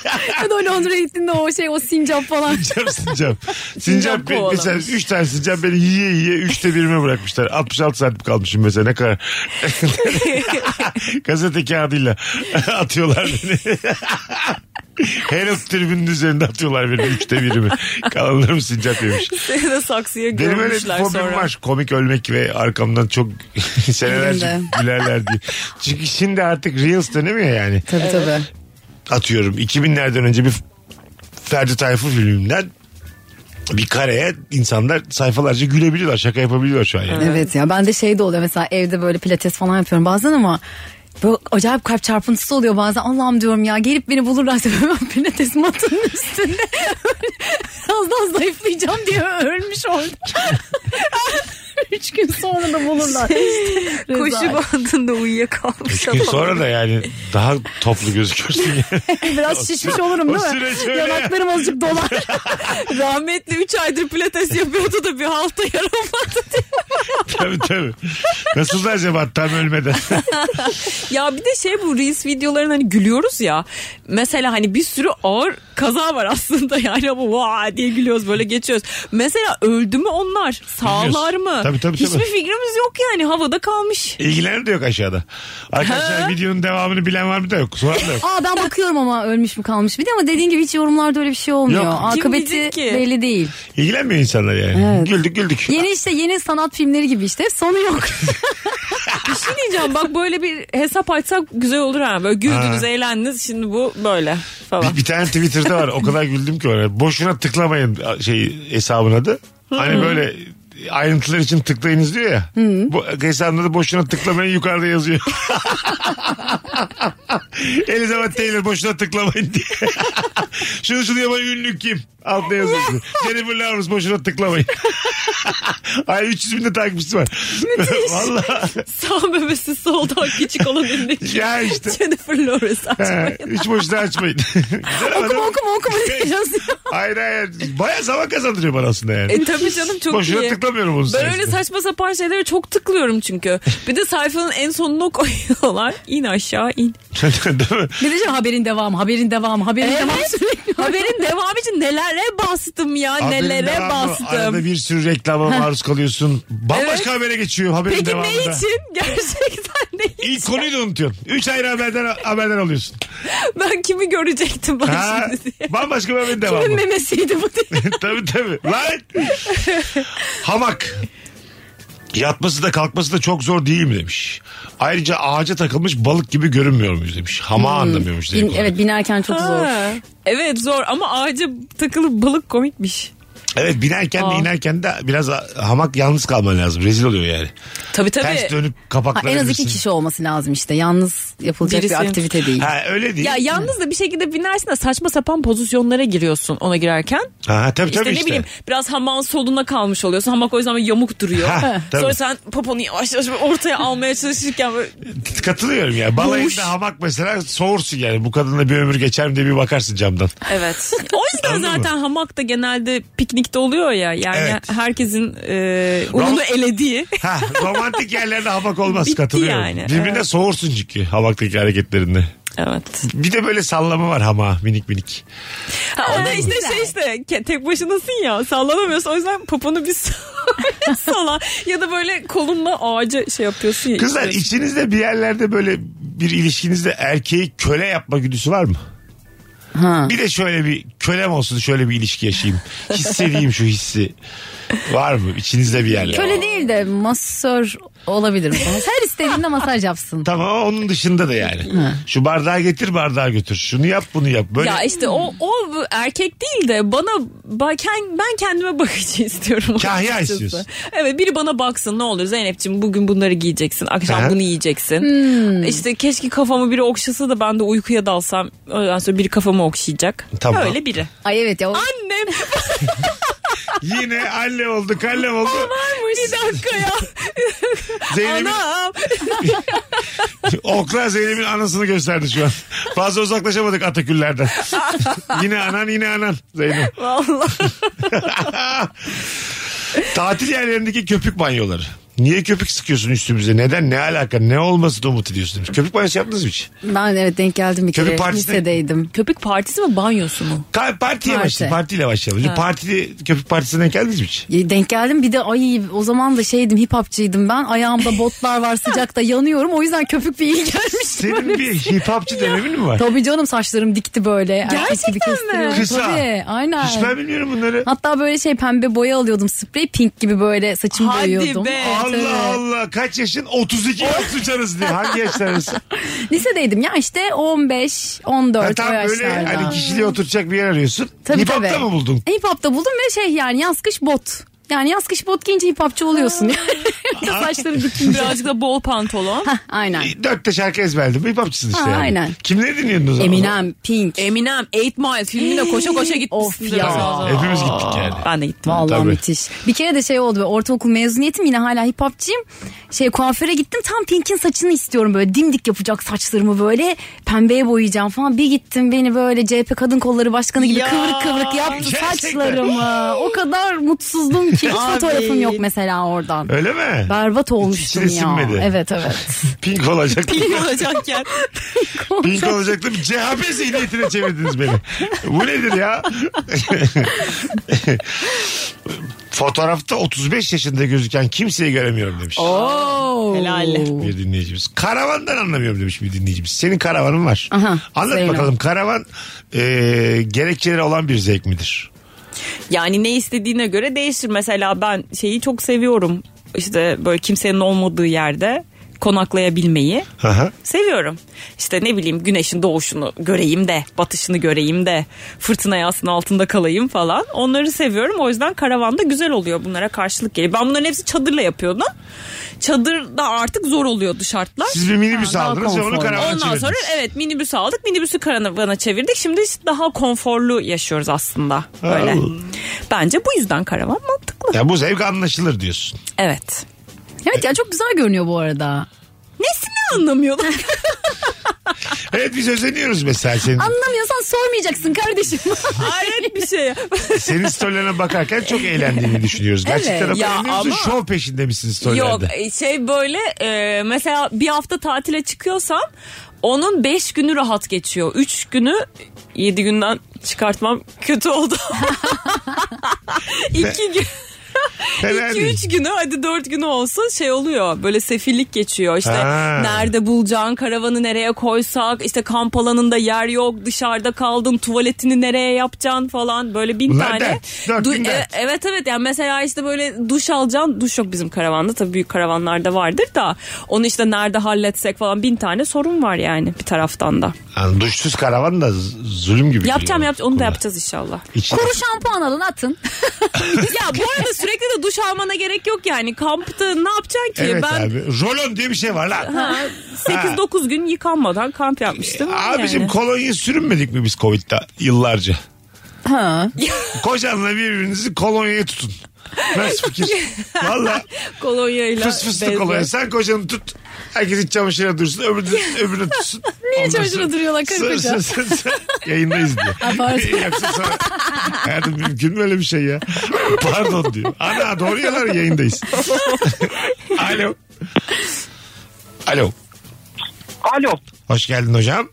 Ben o Londra gittiğinde o şey o sincap falan.
sincap sincap. Sincap be-
kovalamış.
mesela 3 tane sincap beni yiye yiye 3'te birime bırakmışlar. 66 saat kalmışım mesela ne kadar. Gazete kağıdıyla atıyorlar beni. Herald tribünün üzerinde atıyorlar beni 3'te birimi. Kalanlarım sincap yemiş.
Seni de saksıya
Benim öyle bir
görmüşler
fobim
sonra.
var. Komik ölmek ve arkamdan çok senelerce
Benim
gülerler diye. Çünkü şimdi artık Reels dönemiyor yani.
Tabii tabii.
Atıyorum 2000'lerden önce bir Ferdi Tayfur filminden bir kareye insanlar sayfalarca gülebiliyorlar. Şaka yapabiliyorlar şu an yani.
Evet ya ben de şey de oluyor mesela evde böyle pilates falan yapıyorum bazen ama böyle acayip kalp çarpıntısı oluyor bazen Allah'ım diyorum ya gelip beni bulurlarsa ben pilates matının üstünde az daha zayıflayacağım diye ölmüş orada. Üç gün sonra da bulurlar. Şey,
Koşu
Rezalet.
bandında uyuyakalmış
Çünkü
adam.
sonra da yani daha toplu gözükürsün. ya.
Biraz şişmiş olurum
o
değil
süreç
mi?
öyle ya.
Yanaklarım azıcık dolar.
Rahmetli 3 aydır pilates yapıyordu da bir halta yaramadı diye.
tabii tabii. Nasıl da acaba tam ölmeden?
Ya bir de şey bu Reels videoların hani gülüyoruz ya. Mesela hani bir sürü ağır kaza var aslında yani ama vaa diye gülüyoruz böyle geçiyoruz. Mesela öldü mü onlar? Sağlar
Bilmiyoruz.
mı?
Tabii, tabii, tabii.
Hiçbir fikrimiz yok yani havada kalmış.
İlgilenen de yok aşağıda. Arkadaşlar videonun devamını bilen var mı da yok. Soran da yok.
Aa ben bakıyorum ama ölmüş mü kalmış bir de ama dediğin gibi hiç yorumlarda öyle bir şey olmuyor.
Yok.
Kim
Akıbeti
bilecek ki?
belli değil.
İlgilenmiyor insanlar yani. Güldük güldük.
Yeni işte yeni sanat filmleri gibi işte sonu yok.
Bir şey diyeceğim bak böyle bir hesap açsak güzel olur ha. Böyle güldünüz
Ha.
eğlendiniz şimdi bu böyle falan.
Bir, bir tane Twitter'da var. O kadar güldüm ki ona. Boşuna tıklamayın şey hesabın adı.
Hmm.
Hani böyle ayrıntılar için tıklayınız diyor ya. Bu hesabında da boşuna tıklamayın yukarıda yazıyor. Elizabeth Taylor boşuna tıklamayın diye. şunu şunu yapan ünlü kim? Altta yazıyor. Jennifer Lawrence boşuna tıklamayın. Ay 300 bin de takipçisi var. Valla
Sağ bebesi soldan küçük olan elindeki.
ya işte.
Jennifer Lawrence
Ha,
açmayın.
hiç boşuna açmayın. Güzel ama değil
okuma
mi?
okuma okuma diye yazıyor.
Hayır hayır. Baya zaman kazandırıyor bana aslında yani.
E tabii canım çok
Boşuna
iyi.
Çıkamıyorum onun
Ben öyle
sayesinde.
saçma sapan şeylere çok tıklıyorum çünkü. Bir de sayfanın en sonuna koyuyorlar. İn aşağı in.
Değil mi?
Bir de şimdi haberin devamı, haberin devamı, haberin devamı sürekli.
Haberin devamı için nelere bastım ya
Haberin
nelere
devamı.
bastım.
Arada bir sürü reklama maruz kalıyorsun. Bambaşka
Evet.
habere geçiyor haberin
Peki
devamında.
ne için? Gerçekten ne için?
İlk konuyu da unutuyorsun. Üç ayrı haberden, haberden alıyorsun.
Ben kimi görecektim ben
Ha,
şimdi diye.
bambaşka bir haberin devamı.
Kimin memesiydi bu diye.
tabii tabii. Lan. Hamak. Yatması da kalkması da çok zor değil mi demiş. Ayrıca ağaca takılmış balık gibi görünmüyor muyuz demiş. Hamağı
Hmm.
anlamıyormuş.
Hmm. Bin-
dedik ona.
evet binerken çok zor.
Ha. Evet zor ama ağaca takılıp balık komikmiş.
Evet binerken de
Aa.
inerken de biraz a- hamak yalnız kalman lazım. Rezil oluyor yani.
Tabii tabii.
Ters dönüp
Ha, en az iki
kapaklanabilirsin.
kişi olması lazım işte. Yalnız yapılacak
Birisi.
bir aktivite değil.
Ha öyle değil.
Ya yalnız da bir şekilde binersin de saçma sapan pozisyonlara giriyorsun ona girerken.
ha, tabii E,
İşte
tabii
ne
işte.
bileyim biraz hamağın soluna kalmış oluyorsun. Hamak o yüzden böyle yamuk duruyor.
Ha, tabii.
Sonra sen poponu yavaş yavaş böyle ortaya almaya çalışırken böyle
Katılıyorum ya.
Bulmuş.
Balayında hamak mesela soğursun yani. Bu kadınla bir ömür geçer mi diye bir bakarsın camdan.
Evet. O yüzden
Anladın
zaten hamak da genelde piknikte oluyor ya. Yani
Evet.
herkesin e, ununu
Rom-
elediği.
Ha, romantik yerlerde hamak olmaz
Bitti
katılıyorum.
yani,
Birbirine
evet.
soğursun çünkü hamaktaki hareketlerinde.
Evet.
Bir de böyle sallama var hama minik minik.
Ha, o da işte şey işte ke- tek başınasın ya sallanamıyorsun. O yüzden poponu bir sala ya da böyle kolunla ağaca şey yapıyorsun ya.
Kızlar
işte.
içinizde bir yerlerde böyle bir ilişkinizde erkeği köle yapma güdüsü var mı? Bir de şöyle bir kölem olsun şöyle bir ilişki yaşayayım. Hissedeyim şu hissi. Var mı içinizde bir yerlerde?
Köle değil de masör olabilir. Her istediğinde masaj yapsın.
Tamam ama onun dışında da yani. Şu bardağı getir bardağı götür. Şunu yap bunu yap. Böyle
Ya işte o
Hmm.
o bu erkek değil de bana ba- ken- ben kendime bakıcı istiyorum.
Kahya
açıkçası.
istiyorsun.
Evet biri bana baksın ne olur Zeynep'ciğim bugün bunları giyeceksin akşam
Aha.
bunu yiyeceksin.
Hmm.
İşte keşke kafamı biri okşasa da ben de uykuya dalsam ondan sonra biri kafamı okşayacak.
Tamam.
Öyle biri.
Ay evet ya. o-
Annem
yine anne oldu kallem oldu.
bir dakika ya
Zeynep'in
anam.
Oklar Zeynep'in anasını gösterdi şu an. Fazla uzaklaşamadık Ataküller'den. yine anan yine anan Zeynep.
Vallahi.
Tatil yerlerindeki köpük banyoları. Niye köpük sıkıyorsun üstümüze? Neden? Ne alaka? Ne olması da umut ediyorsun? demiş. Köpük banyosu yaptınız mı hiç?
Ben evet denk geldim bir
Köpek
kere.
partisine-
Lisedeydim.
Köpek partisi mi banyosu mu?
Ka- partiye
Parti.
başlayalım. Partiyle başlayalım. Şimdi Partili köpük partisine denk geldiniz mi hiç?
Ya E, Denk geldim bir de ay o zaman da şeydim hip hopçıydım ben. Ayağımda botlar var sıcakta yanıyorum. O yüzden köpük bir iyi gelmişti.
Senin bir hip hopçı dönemin mi var?
Tabii canım saçlarım dikti böyle. Erkek
Gerçekten
gibi
mi?
kestiriyorum.
Kısa.
Tabii aynen.
Hiç ben bilmiyorum bunları.
Hatta böyle şey pembe boya alıyordum sprey pink gibi böyle saçımı
Hadi
boyuyordum.
be.
Evet, evet.
Allah Allah kaç yaşın? 32 suçarız diye. Hangi yaşlarız?
Lisedeydim ya işte 15 14
Ha,
o
tam böyle
yaşlarda.
hani kişiliğe oturacak bir yer arıyorsun.
Tabii,
hip hop'ta
tabii.
mı buldun?
Hip hop'ta buldum ve şey yani yaz kış bot. Yani yaz kış bot giyince hip hopçı oluyorsun. Saçları dikince.
Birazcık da bol pantolon.
Aynen.
Dörtte şarkı ezberledim. Hip hopçısın işte.
Ha,
yani.
aynen.
Kimleri dinliyordun o zaman?
Eminem, Pink.
E,
Eminem 8 Mile filmine koşa koşa
Of
gitmişsin.
ya.
Hepimiz gittik yani.
Ben de gittim.
Vallahi
Tabii.
müthiş. Bir kere de şey oldu böyle ortaokul mezuniyetim yine hala hip hopçıyım. Şey kuaföre gittim tam Pink'in saçını istiyorum böyle dimdik yapacak saçlarımı böyle pembeye boyayacağım falan. Bir gittim beni böyle CHP kadın kolları başkanı gibi
Ya.
kıvrık kıvrık yaptı
Gerçekten.
saçlarımı. O kadar mutsuzdum ki hiç fotoğrafım yok mesela oradan.
Öyle mi?
Berbat olmuştum
içine
ya.
sinmedi.
Evet evet.
Pink olacaktım.
Pink olacakken.
Pink olacaktım. CHP zihniyetine çevirdiniz beni. Bu nedir ya? Fotoğrafta 35 yaşında gözüken kimseyi göremiyorum demiş.
Helal.
Bir dinleyicimiz. Karavandan anlamıyorum demiş bir dinleyicimiz. Senin karavanın var.
Aha,
Anlat
Zeynep.
bakalım karavan e, gerekçeleri olan bir zevk midir?
Yani ne istediğine göre değişir. Mesela ben şeyi çok seviyorum. İşte böyle kimsenin olmadığı yerde konaklayabilmeyi
Hı hı.
seviyorum. İşte ne bileyim güneşin doğuşunu göreyim de, batışını göreyim de, fırtına yağsının altında kalayım falan. Onları seviyorum. O yüzden karavanda güzel oluyor bunlara karşılık geliyor. Ben bunların hepsi çadırla yapıyordum. Çadırda artık zor oluyordu şartlar.
Siz bir minibüs
Ha, daha
aldınız ve onu
konforlu.
karavana
Ondan
çevirdiniz.
sonra evet minibüsü aldık. Minibüsü karavana çevirdik. Şimdi işte daha konforlu yaşıyoruz aslında. Böyle.
Ha.
Bence bu yüzden karavan mantıklı.
Ya bu zevk anlaşılır diyorsun.
Evet.
Evet ya çok güzel görünüyor bu arada.
Nesini anlamıyorlar?
Evet biz özeniyoruz mesela senin.
Anlamıyorsan sormayacaksın kardeşim.
Hayret bir şey.
Senin storylerine bakarken çok eğlendiğini düşünüyoruz. Gerçekten
Evet,
ama
ya
eğleniyoruz da
ama-
şov peşinde misin storylerde?
Yok e, şey böyle e, mesela bir hafta tatile çıkıyorsam onun 5 günü rahat geçiyor. 3 günü 7 günden çıkartmam kötü oldu. 2 gün
Fena
İki
değil.
üç günü hadi dört günü olsun şey oluyor böyle sefillik geçiyor işte
Ha.
nerede bulacağın karavanı nereye koysak işte kamp alanında yer yok dışarıda kaldın tuvaletini nereye yapacaksın falan böyle bin
Bunlar
tane.
dert. Dört gün
e-
dert.
evet evet yani mesela işte böyle duş alacaksın duş yok bizim karavanda tabii büyük karavanlarda vardır da onu işte nerede halletsek falan bin tane sorun var yani bir taraftan da.
Yani duşsuz karavan da z- zulüm gibi.
Yapacağım
geliyor
yapacağım onu da
kulağa.
yapacağız inşallah.
İçine-
Kuru şampuan alın atın.
ya bu arada sürekli de duş almana gerek yok yani kampta ne yapacaksın ki
Evet
ben
abi. Rolon diye bir şey var lan.
Ha, 8-9 gün yıkanmadan kamp yapmıştım.
E, Abicim
yani.
kolonya sürünmedik mi biz Covid'de yıllarca? Kocanla birbirinizi kolonyaya tutun. Nasıl fikir? Valla
kolonyayla.
fıs fıslı
bezle.
kolonya. Sen kocanı tut. Herkes iç çamaşırına dursun. Öbürünü, öbürünü tutsun. Niye
çamaşırına duruyorlar karı koca?
Yayındayız diye.
pardon.
Yoksa sonra hayatım mümkün mü öyle bir şey ya? Pardon diyor. Ana doğru yalan yayındayız. Alo. Alo.
Alo.
Hoş geldin hocam.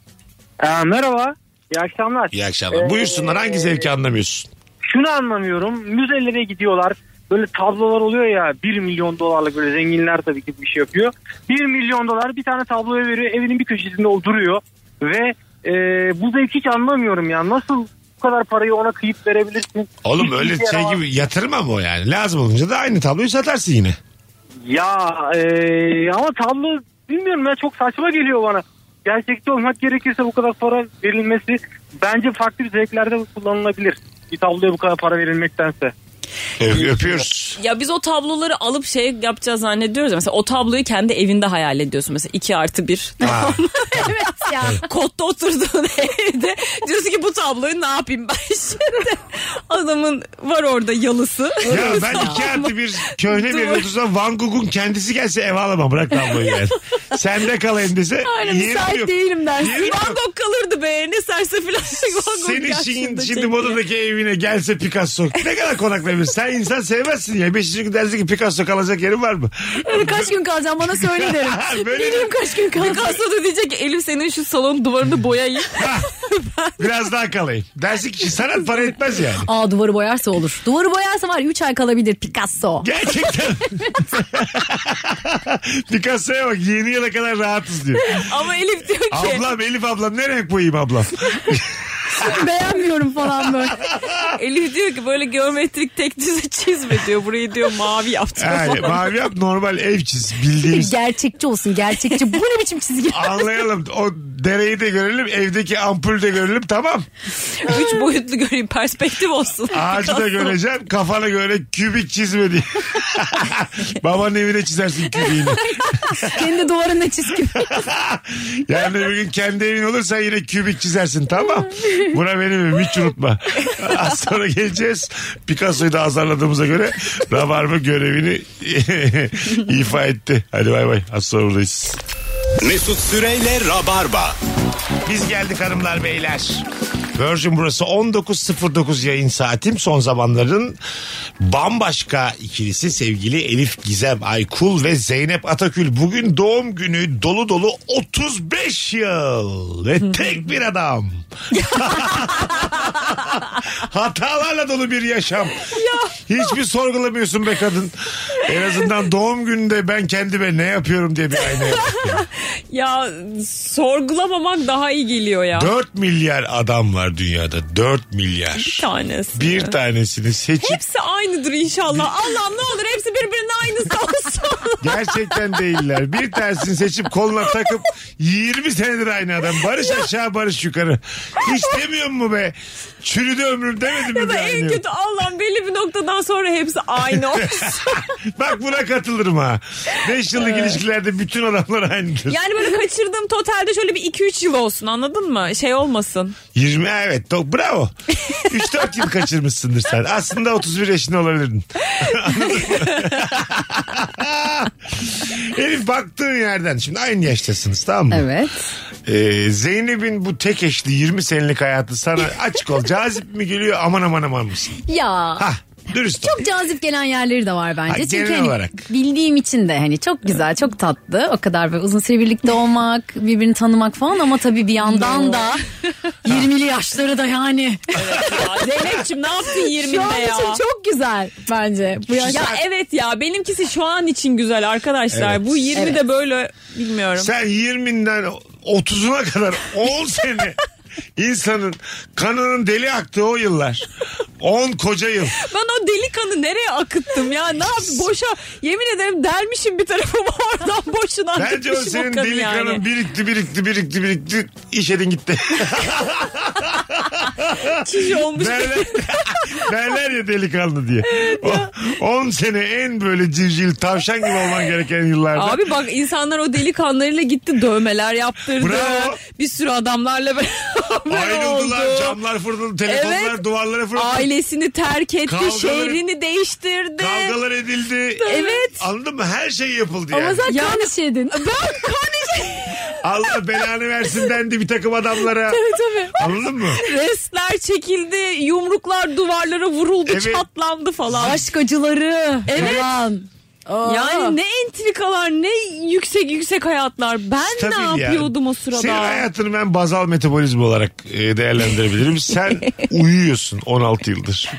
Ee, merhaba. İyi akşamlar.
İyi akşamlar. Buyursunlar hangi zevki anlamıyorsun?
Şunu anlamıyorum. Müzelere gidiyorlar. Böyle tablolar oluyor ya 1 milyon dolarlık böyle zenginler tabii ki bir şey yapıyor. 1 milyon dolar bir tane tabloya veriyor. Evinin bir köşesinde o duruyor. Ve e, bu zevki hiç anlamıyorum ya. Nasıl bu kadar parayı ona kıyıp verebilirsin?
Oğlum
Hiçbir
öyle
işe
şey
yaramaz.
gibi yatırma mı o yani? Lazım olunca da aynı tabloyu satarsın yine.
Ya e, ama tablo bilmiyorum ya çok saçma geliyor bana. Gerçekçi olmak gerekirse bu kadar para verilmesi bence farklı bir zevklerde kullanılabilir. Bir tabloya bu kadar para verilmektense.
Ö- öpüyoruz.
Ya biz o tabloları alıp şey yapacağız zannediyoruz. ya. Mesela o tabloyu kendi evinde hayal ediyorsun. Mesela 2 artı 1.
Ha,
evet ya.
Kotta oturduğun evde. Diyorsun ki bu tabloyu ne yapayım ben şimdi. Adamın var orada yalısı.
ya ben iki artı bir köhne bir otuzda Van Gogh'un kendisi gelse ev alamam. Bırak tabloyu yani. Sende kalayım dese
Aynen,
yerim
müsait
yok.
Değilim dersin.
Yerim
Van
yok.
Gogh kalırdı be. Ne serse filan. Van Gogh
Senin
gelsin de
şimdi, şimdi
çekti.
modadaki evine gelse Picasso ne kadar konaklayabilir? Sen insan sevmezsin ya. Beşinci gün dersin ki Picasso kalacak yerin var mı?
Kaç gün kalacağım bana söyle derim.
Böyle-
Bileyim kaç gün kalacağım.
Picasso da diyecek ki, Elif senin şu salon duvarını boyayayım.
Biraz daha kalayım. Dersin ki sanat para etmez yani.
Aa duvarı boyarsa olur. Duvarı boyarsa var 3 ay kalabilir Picasso.
Gerçekten. Picasso'ya bak yeni yıla kadar rahatız diyor.
Ama Elif diyor ki.
Ablam Elif ablam ne renk boyayım ablam?
Beğenmiyorum falan böyle.
Elif diyor ki böyle geometrik tek düze çizme diyor. Burayı diyor mavi yaptım.
Yani,
falan.
mavi yap normal ev çiz bildiğimiz.
gerçekçi olsun gerçekçi. Bu ne biçim çizgi?
Anlayalım. O dereyi de görelim, evdeki ampulü de görelim. Tamam.
Üç boyutlu göreyim perspektif olsun.
Ağacı da göreceğim. Kafana göre kübik çizme diye. Babanın evine çizersin kübiğini.
Kendi duvarında çizgi.
Yani bir gün kendi evin olursa yine kübik çizersin tamam. Buna benim evim hiç unutma. Az sonra geleceğiz. Picasso'yu da azarladığımıza göre Rabarba görevini ifa etti. Hadi bay bay. Az sonra buradayız.
Mesut Süreyle Rabarba.
Biz geldik hanımlar beyler. Virgin burası 19.09 yayın saatim. Son zamanların bambaşka ikilisi sevgili Elif Gizem Aykul ve Zeynep Atakül. Bugün doğum günü dolu dolu 35 yıl ve tek bir adam. Hatalarla dolu bir yaşam. Hiçbir sorgulamıyorsun be kadın. En azından doğum gününde ben kendime ne yapıyorum diye bir aynaya bak.
Ya sorgulamamak daha iyi geliyor ya.
4 milyar adam var dünyada. 4 milyar.
Bir tanesi.
Bir tanesini seçip
Hepsi aynıdır inşallah. Allah'ım ne olur hepsi birbirinin aynısı olsun.
gerçekten değiller. Bir tanesini seçip koluna takıp 20 senedir aynı adam. Barış aşağı barış yukarı. Hiç demiyor mu be? Çürüdü ömrüm demedim mi?
ya da
be
en
aynı?
kötü Allah'ım belli bir noktadan sonra hepsi aynı olsun.
Bak buna katılırım ha. 5 yıllık ilişkilerde bütün adamlar aynıdır.
Yani böyle kaçırdığım totalde şöyle bir 2-3 yıl olsun anladın mı? Şey olmasın.
20 evet do- bravo. 3-4 yıl kaçırmışsındır sen. Aslında 31 yaşında olabilirdin. Anladın mı? Elif baktığın yerden şimdi aynı yaştasınız tamam mı?
Evet.
Ee, Zeynep'in bu tek eşli 20 senelik hayatı sana açık ol. Cazip mi geliyor aman aman aman mısın?
Ya.
Hah dürüst ol.
Çok cazip gelen yerleri de var bence.
Ha, genel
Çünkü hani
olarak.
bildiğim için de hani çok güzel, çok tatlı. O kadar böyle uzun süre birlikte olmak, birbirini tanımak falan ama tabii bir yandan da 20'li yaşları da yani. Hani
Zeynep'ciğim ne yaptın 20'de
Şu an
ya?
için çok güzel bence. Bu yaş-
Ya evet ya benimkisi şu an için güzel arkadaşlar. Bu 20 de böyle bilmiyorum.
Sen 20'den 30'una kadar 10 sene insanın kanının deli aktığı o yıllar. 10 koca yıl.
Ben o deli kanı nereye akıttım ya? Ne yap boşa yemin ederim delmişim bir tarafıma oradan boşuna
Bence o
akıtmışım o,
senin
kanı
deli
yani.
kanın birikti birikti birikti birikti iş edin gitti.
Çiş olmuş.
derler, derler ya delikanlı diye. 10 sene en böyle civcil tavşan gibi olman gereken yıllarda.
Abi bak insanlar o deli kanlarıyla gitti dövmeler yaptırdı.
Bravo.
Bir sürü adamlarla beraber oldu.
Ayrıldılar camlar fırladı telefonlar
Evet.
duvarlara fırladı.
Ailesini terk etti,
Kavgaları-
şehrini değiştirdi.
Kavgalar edildi.
Evet.
Anladın mı? Her şey yapıldı
Ama
yani.
sen
Yani-
kan işedin.
Allah belanı versin dendi bir takım adamlara.
Tabii.
Anladın mı?
Restler çekildi, yumruklar duvarlara vuruldu,
Evet.
çatlandı falan.
Aşk acıları.
Evet.
Ulan. Aa.
Yani ne entrikalar, ne yüksek yüksek hayatlar. Ben
Tabii
ne
yani.
yapıyordum o sırada?
Senin hayatını ben bazal metabolizm olarak e, değerlendirebilirim. Sen uyuyorsun 16 yıldır.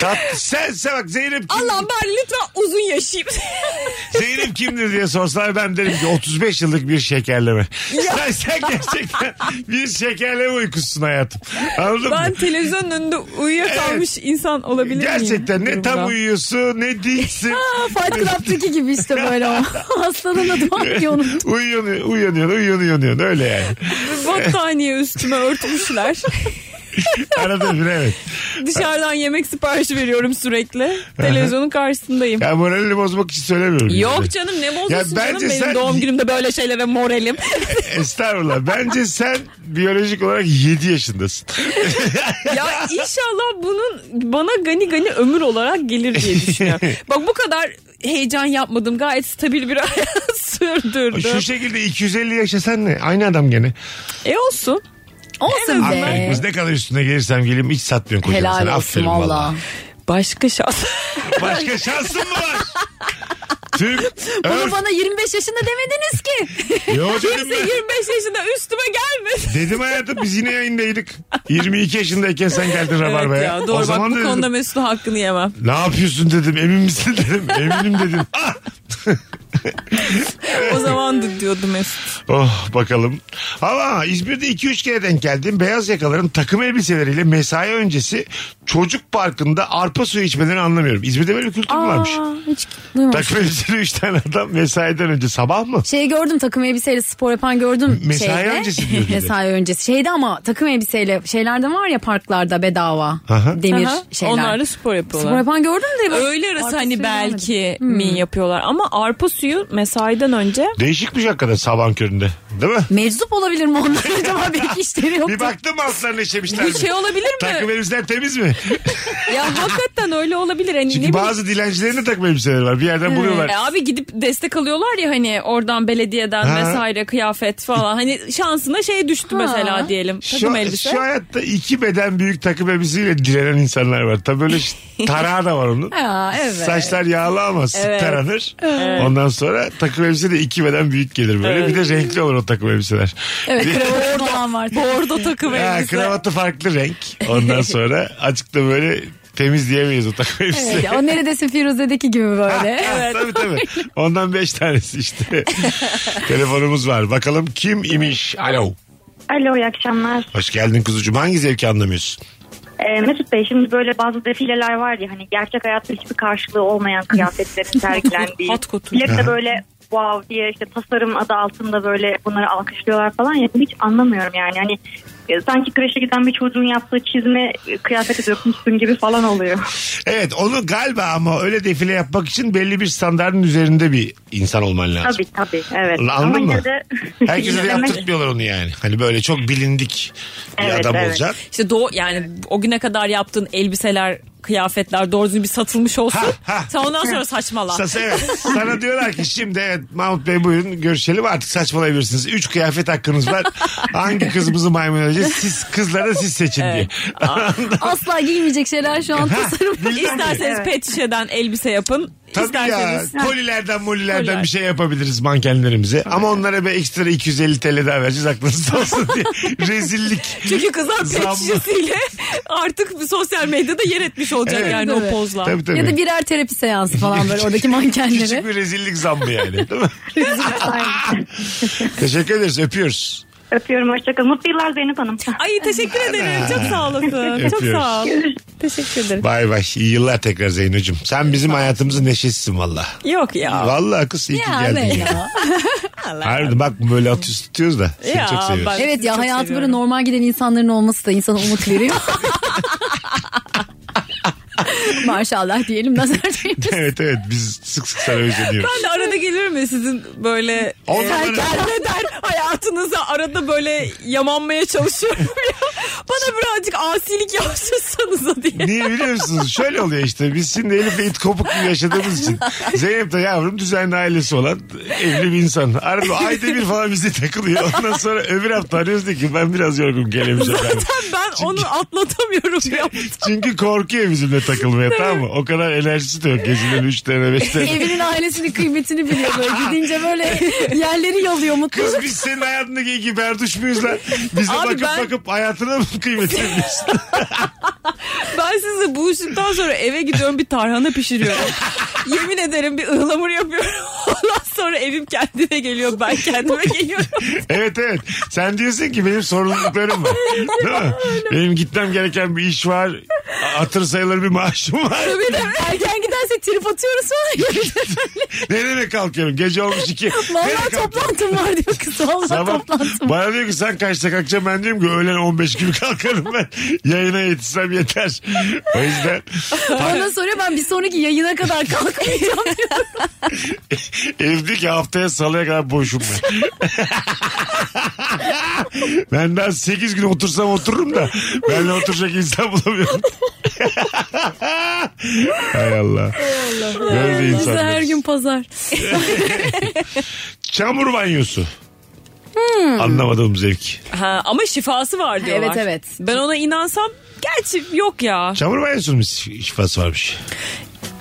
Tat, sen, sen bak Zeynep kim,
Allah'ım ben lütfen uzun yaşayayım.
Zeynep kimdir diye sorsalar ben derim ki 35 yıllık bir şekerleme. sen, sen gerçekten bir şekerleme uykusun hayatım. Anladın
ben
mı?
televizyonun önünde uyuyakalmış insan olabilir miyim?
Gerçekten ne tam
Burada.
uyuyorsun ne değilsin.
Fight Club'daki gibi işte böyle o. Aslanın adı var ki onun.
Uyanıyorsun, uyanıyorsun, uyanıyorsun. Öyle yani.
Battaniye üstüme örtmüşler.
Arada bir evet.
Dışarıdan yemek siparişi veriyorum sürekli. Televizyonun karşısındayım.
Ya moralini bozmak için söylemiyorum.
Yok
yani.
canım ne
bence
bozulsun canım benim
sen-
doğum günümde böyle şeylere moralim.
Estağfurullah. Bence sen biyolojik olarak 7 yaşındasın.
ya inşallah bunun bana gani gani ömür olarak gelir diye düşünüyorum. Bak bu kadar heyecan yapmadım. Gayet stabil bir hayat sürdürdüm.
Şu şekilde 250 yaşasan ne? Aynı adam gene.
E olsun.
Olsun
azından.
be.
Aferin kız ne kadar üstüne gelirsem geleyim hiç satmıyorsun kocam.
Helal
sana.
olsun
Aferin
valla.
vallahi.
Başka şans.
Başka şansın mı var? Türk.
Bunu
Örf.
bana 25 yaşında demediniz ki.
Yo dedim
Kimse
ben.
25 yaşında üstüme gelmesin.
Dedim hayatım biz yine yayındaydık. 22 yaşındayken sen geldin Rabarba'ya.
Evet ya, doğru
o
bak
zaman
bu
da dedim,
konuda Mesut'un hakkını yemem.
Ne yapıyorsun dedim emin misin dedim. Eminim dedim. Ah!
O zaman da diyordu Mesut.
Oh bakalım. Ama İzmir'de 2-3 kere denk geldim. Beyaz yakaların takım elbiseleriyle mesai öncesi çocuk parkında arpa suyu içmelerini anlamıyorum. İzmir'de böyle bir kültür mü varmış?
hiç duymamıştım.
Takım elbiseli 3 tane adam mesaiden önce sabah mı?
Şey gördüm takım elbiseyle spor yapan gördüm.
Mesai
şeyde.
öncesi diyor dedi.
Mesai öncesi. Şeyde ama takım elbiseyle şeylerde var ya parklarda bedava.
Aha.
Demir
Aha,
şeyler.
Onlar da spor yapıyorlar.
Spor yapan gördüm de. bak-
Öğle arası
Arpa
hani
suyu
belki mi yapıyorlar ama arpa suyu mesaiden önce
Değişikmiş hakikaten sabah köründe. Değil mi?
Meczup olabilir mi onlar acaba? Belki işleri yoktu.
Bir baktım altlarına işemişler mi?
bir şey olabilir
Takım
mi?
elbiseler temiz mi?
ya hakikaten öyle olabilir. Hani ne
Çünkü
bileyim-
bazı dilencilerin de takım elbiseleri var. Bir yerden buluyorlar.
E abi gidip destek alıyorlar ya hani oradan belediyeden
Ha.
vesaire kıyafet falan. Hani şansına şey düştü mesela diyelim. Takım
Şu,
elbise.
şu hayatta iki beden büyük takım elbiseyle direnen insanlar var. Tabii böyle ş- tarağı da var onun.
Ya, evet.
Saçlar yağlı ama sık taranır. Ondan sonra takım elbise de iki beden büyük gelir böyle. Bir de renkli olur o takım elbiseler.
Evet
Bir-
kravat falan var.
Bordo takım
Ha,
elbise.
kravatı farklı renk. Ondan sonra açıkta böyle temiz diyemeyiz o takım elbise.
Evet, o neredeyse Firuze'deki gibi böyle.
evet. tabii tabii. Ondan beş tanesi işte. Telefonumuz var. Bakalım kim imiş? Alo.
Alo iyi akşamlar.
Hoş geldin kuzucuğum. Hangi zevki anlamıyorsun?
Ee, Mesut Bey şimdi böyle bazı defileler var ya hani gerçek hayatta hiçbir karşılığı olmayan kıyafetlerin sergilendiği.
Hot couture.
Millet de böyle wow diye işte tasarım adı altında böyle bunları alkışlıyorlar falan ya hiç anlamıyorum yani hani e, sanki kreşe giden bir çocuğun yaptığı çizme e, kıyafete dökmüşsün gibi falan oluyor.
Evet onu galiba ama öyle defile yapmak için belli bir standartın üzerinde bir insan olman lazım.
tabii tabii evet.
Ulan
Ama
Anladın mı?
yine de-
Herkese de
Demek-
yaptırtmıyorlar onu yani. Hani böyle çok bilindik bir
Evet,
adam
evet.
olacak.
İşte doğu yani o güne kadar yaptığın elbiseler kıyafetler doğru düzgün bir satılmış olsun.
Ha, ha.
Sen ondan sonra saçmala.
Sas- evet. Sana diyorlar ki şimdi evet Mahmut Bey buyurun görüşelim artık saçmalayabilirsiniz. Üç kıyafet hakkınız var. Hangi kızımızı maymun edeceğiz? Siz kızları siz seçin diye.
Asla giymeyecek şeyler şu an tasarım.
İsterseniz pet şişeden elbise yapın.
Tabii
İsterseniz
ya kolilerden molilerden
Koliler.
bir şey yapabiliriz mankenlerimize. Ama onlara bir ekstra 250 TL daha vereceğiz aklınızda olsun diye. Rezillik.
Çünkü kızlar
Zamla.
pet şişesiyle artık bir sosyal medyada yer etmiş olacak
Evet.
yani
Tabii.
o pozla.
Tabii tabii.
ya da birer terapi seansı falan böyle oradaki
Küçük
mankenlere.
bir rezillik zammı yani değil mi? Teşekkür ederiz öpüyoruz.
Öpüyorum hoşçakalın. Mutlu yıllar Zeynep Hanım.
Ay teşekkür ederim. Çok sağ olasın. Çok
Öpüyoruz.
sağ ol. Teşekkür ederim.
Bay bay iyi yıllar tekrar Zeyno'cum. Sen bizim hayatımızın neşesisin valla.
Yok ya.
Valla kız iyi ki
Ya,
geldin.
be
ya.
ya.
Harbiden bak böyle atıyoruz tutuyoruz da seni
Ya,
çok seviyoruz.
bak-
Evet ya
Çok
hayatı
seviyorum.
böyle normal giden insanların olması da insana umut veriyor. Maşallah diyelim nazar değmesin.
Evet evet biz sık sık sana özeniyoruz.
Ben de arada gelir mi sizin böyle
On numara.
der hayatınıza arada böyle yamanmaya çalışıyorum ya. Bana birazcık asilik yapsanıza diye.
Niye biliyor musunuz? Şöyle oluyor işte. Biz şimdi Elif ve it kopuk gibi yaşadığımız için. Zeynep de yavrum düzenli ailesi olan evli bir insan. Arada ayda bir falan bize takılıyor. Ondan sonra öbür hafta arıyoruz diyor ki ben biraz yorgun gelemeyeceğim. ben.
Ben onu atlatamıyorum ya.
Çünkü korkuyor bizimle takılmaya tamam mı? O kadar enerjisi de yok. Geceleri 3 tane 5 tane.
Evinin ailesinin kıymetini biliyor böyle gidince böyle yerleri yalıyor mutlu.
Kız biz senin hayatındaki gibi berduş muyuz lan? Bize
Abi
bakıp
ben-
bakıp hayatına mı kıymet veriyorsun?
Ben sizi buluştuktan sonra eve gidiyorum bir tarhana pişiriyorum. Yemin ederim bir ıhlamur yapıyorum. Ondan sonra evim kendine geliyor. Ben kendime geliyorum.
Evet evet. Sen diyorsun ki benim sorumluluklarım var. Değil mi? Benim gitmem gereken bir iş var. Atır sayılır bir maaşım var.
Bir de erken giderse trip atıyoruz sonra.
Nereye kalkıyorum? Gece olmuş iki. Nereye
Vallahi
kalkıyorum?
toplantım var diyor kız. Vallahi
Sabah
toplantım var.
bana diyor ki sen kaçta kalkacaksın ben diyorum ki öğlen 15 gibi kalkarım ben yayına yetişsem yeter. O yüzden
Bana soruyor ben bir sonraki yayına kadar kalkmayacağım.
evdeki haftaya salıya kadar boşum ben. ben daha 8 gün otursam otururum da benle oturacak insan bulamıyorum. Hay Allah. Böyle de
Bize
insanlar.
her gün pazar.
Çamur banyosu.
Hmm.
Anlamadığım zevk.
Ha, ama şifası var diyorlar.
Evet, evet.
Ben ona inansam gerçi yok ya.
Çamur banyosunun bir şifası varmış.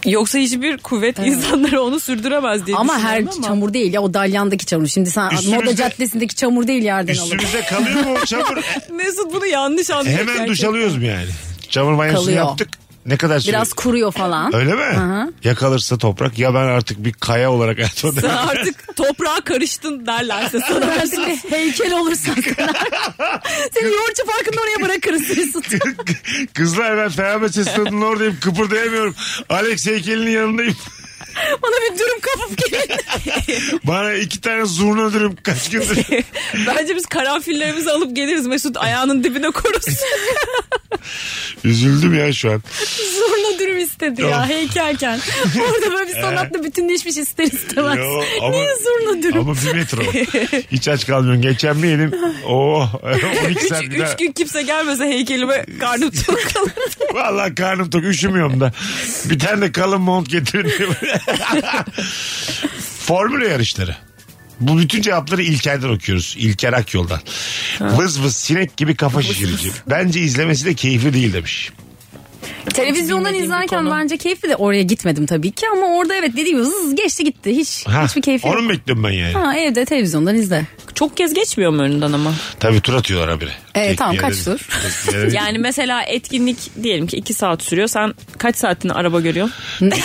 Yoksa hiçbir kuvvet insanlara onu sürdüremez diye
Ama her
düşünüyorum ama.
çamur değil ya o dalyandaki çamur. Şimdi sen
Üstümüzde-
moda caddesindeki çamur değil yerden alır.
Üstümüzde kalıyor mu o çamur?
Mesut bunu yanlış anlıyor.
Hemen duş
gerçekten.
alıyoruz mu yani? Çamur banyosunu
Kalıyor.
yaptık. Ne kadar süre?
Biraz kuruyor falan.
şey- Öyle mi? Yakalırsa toprak ya ben artık bir kaya olarak hayatıma
Sen
devam-
artık toprağa karıştın derlerse sana.
Dersin ki, heykel olursan sana. Seni yoğurtçu parkında oraya bırakırız Mesut.
Kızlar ben Fenerbahçe stadının oradayım kıpırdayamıyorum. Alex heykelinin yanındayım.
Bana bir durum kapıp gelin.
Bana iki tane zurna dürüm kaç gündür.
Bence biz karanfillerimizi alıp geliriz Mesut ayağının dibine korursun.
Üzüldüm ya şu an.
Zorla dürüm istedi ya heykelken. Orada böyle bir sanatla bütünleşmiş ister istemez.
Yo, ama-
Niye zorla dürüm?
Ama bir metro. Hiç aç kalmıyorum. Geçen bir yedim. Oo, 12
üç,
saat bir daha.
üç gün kimse gelmese heykelime karnım tok kalır.
Vallahi karnım tok üşümüyorum da. Bir tane de kalın mont getirin. diyor. Formula yarışları. Bu bütün cevapları İlker'den okuyoruz. İlker Akyol'dan. Vız vız sinek gibi kafa şişirici. Bence izlemesi de keyifli değil demiş.
Televizyondan
Bilmediğim bir
izlerken
konu.
bence keyifli de oraya gitmedim tabii ki ama orada evet dediğim gibi zız geçti gitti. Hiç
Ha,
hiçbir keyfi yok.
Onu mu bekliyorum ben yani?
Ha, evde televizyondan izle.
Çok kez geçmiyor mu önünden ama?
Tabii tur atıyorlar habire.
Evet,
Tek
Ee, tamam,
bir yere-
kaç tur?
tek bir yere-
Yani mesela etkinlik diyelim ki iki saat sürüyor. Sen kaç saatini araba görüyorsun?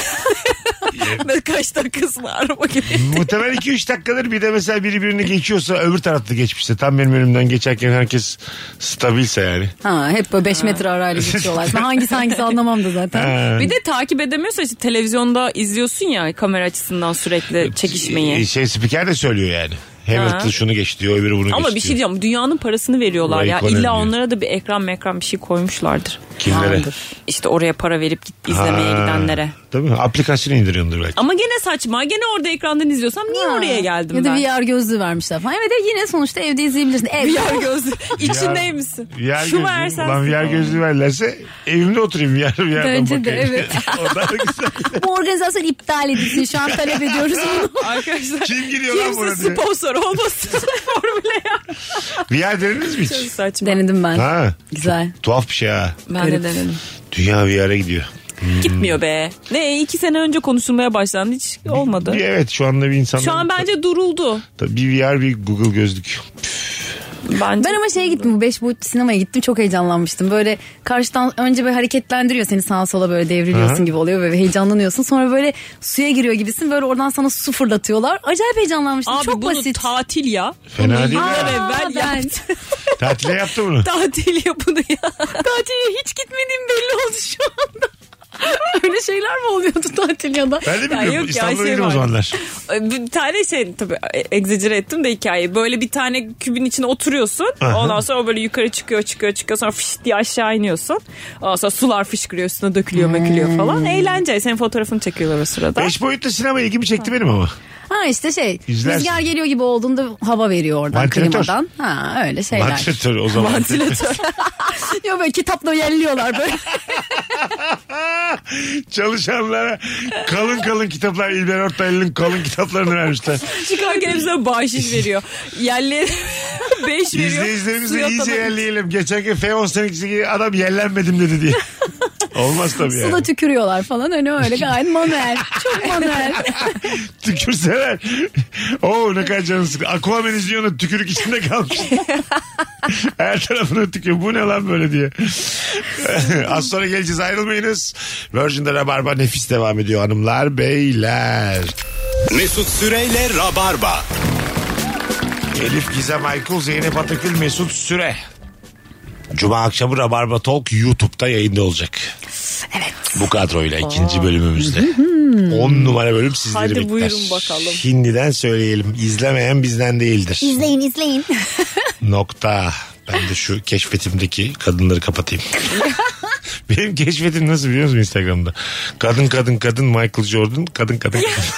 Ben kaç dakikasını araba görüyorum?
Muhtemelen 2-3 dakikadır bir de mesela biri birini geçiyorsa öbür tarafta geçmişse tam benim önümden geçerken herkes stabilse yani.
Ha, hep böyle 5 metre arayla geçiyorlar. Ben hangisi hangisi anlamam da zaten.
Bir de takip edemiyorsa işte televizyonda izliyorsun ya kamera açısından sürekli çekişmeyi.
Şey spiker de söylüyor yani. Hamilton şunu geç diyor öbürü bunu geç
Ama bir
diyor.
şey diyeceğim dünyanın parasını veriyorlar
Vay
ya.
ekonomi
İlla
diyor.
onlara da bir ekran mekran bir şey koymuşlardır.
Kimlere?
Vardır. İşte oraya para verip git izlemeye
Ha,
gidenlere.
Değil mi? Aplikasyonu indiriyordur belki.
Ama gene saçma. Gene orada ekrandan izliyorsam niye oraya geldim
ya
ben?
Ya da VR gözlüğü vermişler falan. Evet evet, yine sonuçta evde izleyebilirsin. Ev.
VR gözlü. İçindeymişsin.
VR
Şu
gözlüğü,
versen.
ulan VR gözlüğü verlerse evimde oturayım VR, VR'dan
Bence de,
bakayım.
evet.
Oradan da güzel.
Bu organizasyon iptal edilsin. Şu an talep ediyoruz bunu.
Arkadaşlar.
Kim giriyor lan
Kimse
buna diye.
sponsor olmasın formüle ya.
VR denediniz mi
Çok
hiç?
saçma.
Denedim ben.
Ha.
Güzel.
Tuhaf bir şey ha.
Ben de denedim.
Dünya VR'e gidiyor.
Gitmiyor be. Ne iki sene önce konuşulmaya başlandı hiç olmadı.
Bir, evet şu anda bir insan.
Şu an bence duruldu.
Bir VR bir Google gözlük.
Bence
Ben ama şeye gittim bu 5 boyutlu sinemaya gittim çok heyecanlanmıştım. Böyle karşıdan önce böyle hareketlendiriyor seni sağa sola böyle devriliyorsun
Aha.
gibi oluyor ve heyecanlanıyorsun. Sonra böyle suya giriyor gibisin böyle oradan sana su fırlatıyorlar. Acayip heyecanlanmıştım
Abi
çok
bunu
basit.
tatil ya.
Fena
Bunu
değil
yıllar
ya.
evvel
ben.
yaptı.
Tatile yaptı bunu.
tatil ya bunu ya. Tatile hiç gitmediğim belli oldu şu anda.
Öyle şeyler mi oluyordu tatil ya da?
Ben de bilmiyorum.
yok ya,
İstanbul'da
şey
şey o
var.
zamanlar.
Bir tane şey tabii egzecere ettim de hikayeyi. Böyle bir tane kübün içine oturuyorsun.
Aha.
Ondan sonra o böyle yukarı çıkıyor çıkıyor çıkıyor. Sonra fış diye aşağı iniyorsun. Ondan sonra sular fışkırıyor üstüne dökülüyor mökülüyor falan. Eğlence. Senin fotoğrafını çekiyorlar o sırada.
Beş boyutlu sinema ilgimi çekti benim ama.
Ha işte şey
İzlersin.
rüzgar geliyor gibi olduğunda hava veriyor oradan
Vantilatör.
klimadan. Ha öyle şeyler.
Vantilatör o zaman.
Ventilatör.
Yok böyle kitapla yelliyorlar böyle.
Çalışanlara kalın kalın kitaplar İlber Ortaylı'nın kalın kitaplarını vermişler.
Çıkarken hepsine bahşiş veriyor. Yerli 5 veriyor.
İzleyicilerimize
Suya
iyice
atamak-
yerleyelim. Geçenki F18 gibi adam yerlenmedim dedi diye. Olmaz tabii yani.
Suda tükürüyorlar falan hani öyle gayet manuel. Çok manuel.
Tükürseler. Oo ne kadar canı sıkı. Aquaman izliyor onu, tükürük içinde kalmış. Her tarafına tükürüyor. Bu ne lan böyle diye. Az sonra geleceğiz ayrılmayınız. Virgin'de Rabarba nefis devam ediyor hanımlar beyler.
Mesut Süreyle Rabarba.
Elif Gizem Aykul, Zeynep Atakül, Mesut Süre. Cuma akşamı Rabarba Talk YouTube'da yayında olacak. Evet. Bu kadroyla ikinci bölümümüzde. 10 numara bölüm sizleri
Hadi
bekler.
buyurun bakalım.
Şimdiden söyleyelim. İzlemeyen bizden değildir.
izleyin izleyin.
Nokta. Ben de şu keşfetimdeki kadınları kapatayım. Benim keşfetim nasıl biliyor musun Instagram'da? Kadın kadın kadın Michael Jordan kadın kadın kadın.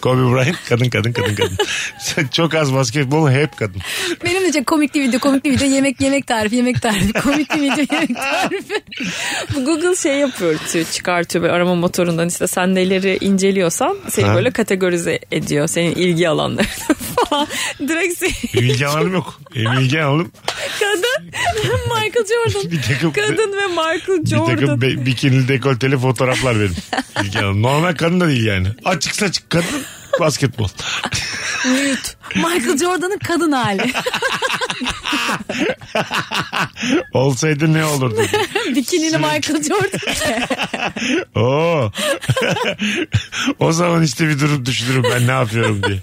Kobe Bryant kadın kadın kadın kadın. Sen Çok az basketbol hep kadın.
Benim de çok komikli video, komikli video, yemek yemek tarifi, yemek tarifi, komikli video, yemek tarifi.
Bu Google şey yapıyor tü- çıkartıyor böyle arama motorundan işte sen neleri inceliyorsan seni
Ha.
böyle kategorize ediyor senin ilgi alanları falan. Direkt seni
Benim ilgi alanım yok. Benim ilgi alanım
kadın Michael Jordan.
Bir takım-
kadın ve Michael
bir takım
Jordan.
be- bikinili dekolteli fotoğraflar benim. İlgi alanım. Normal kadın da değil yani. Açık saçık kadın basketbol.
Michael Jordan'ın kadın hali.
Olsaydı ne olurdu?
Bikinili Michael Jordan.
Oo. o zaman işte bir durup düşünürüm ben ne yapıyorum diye.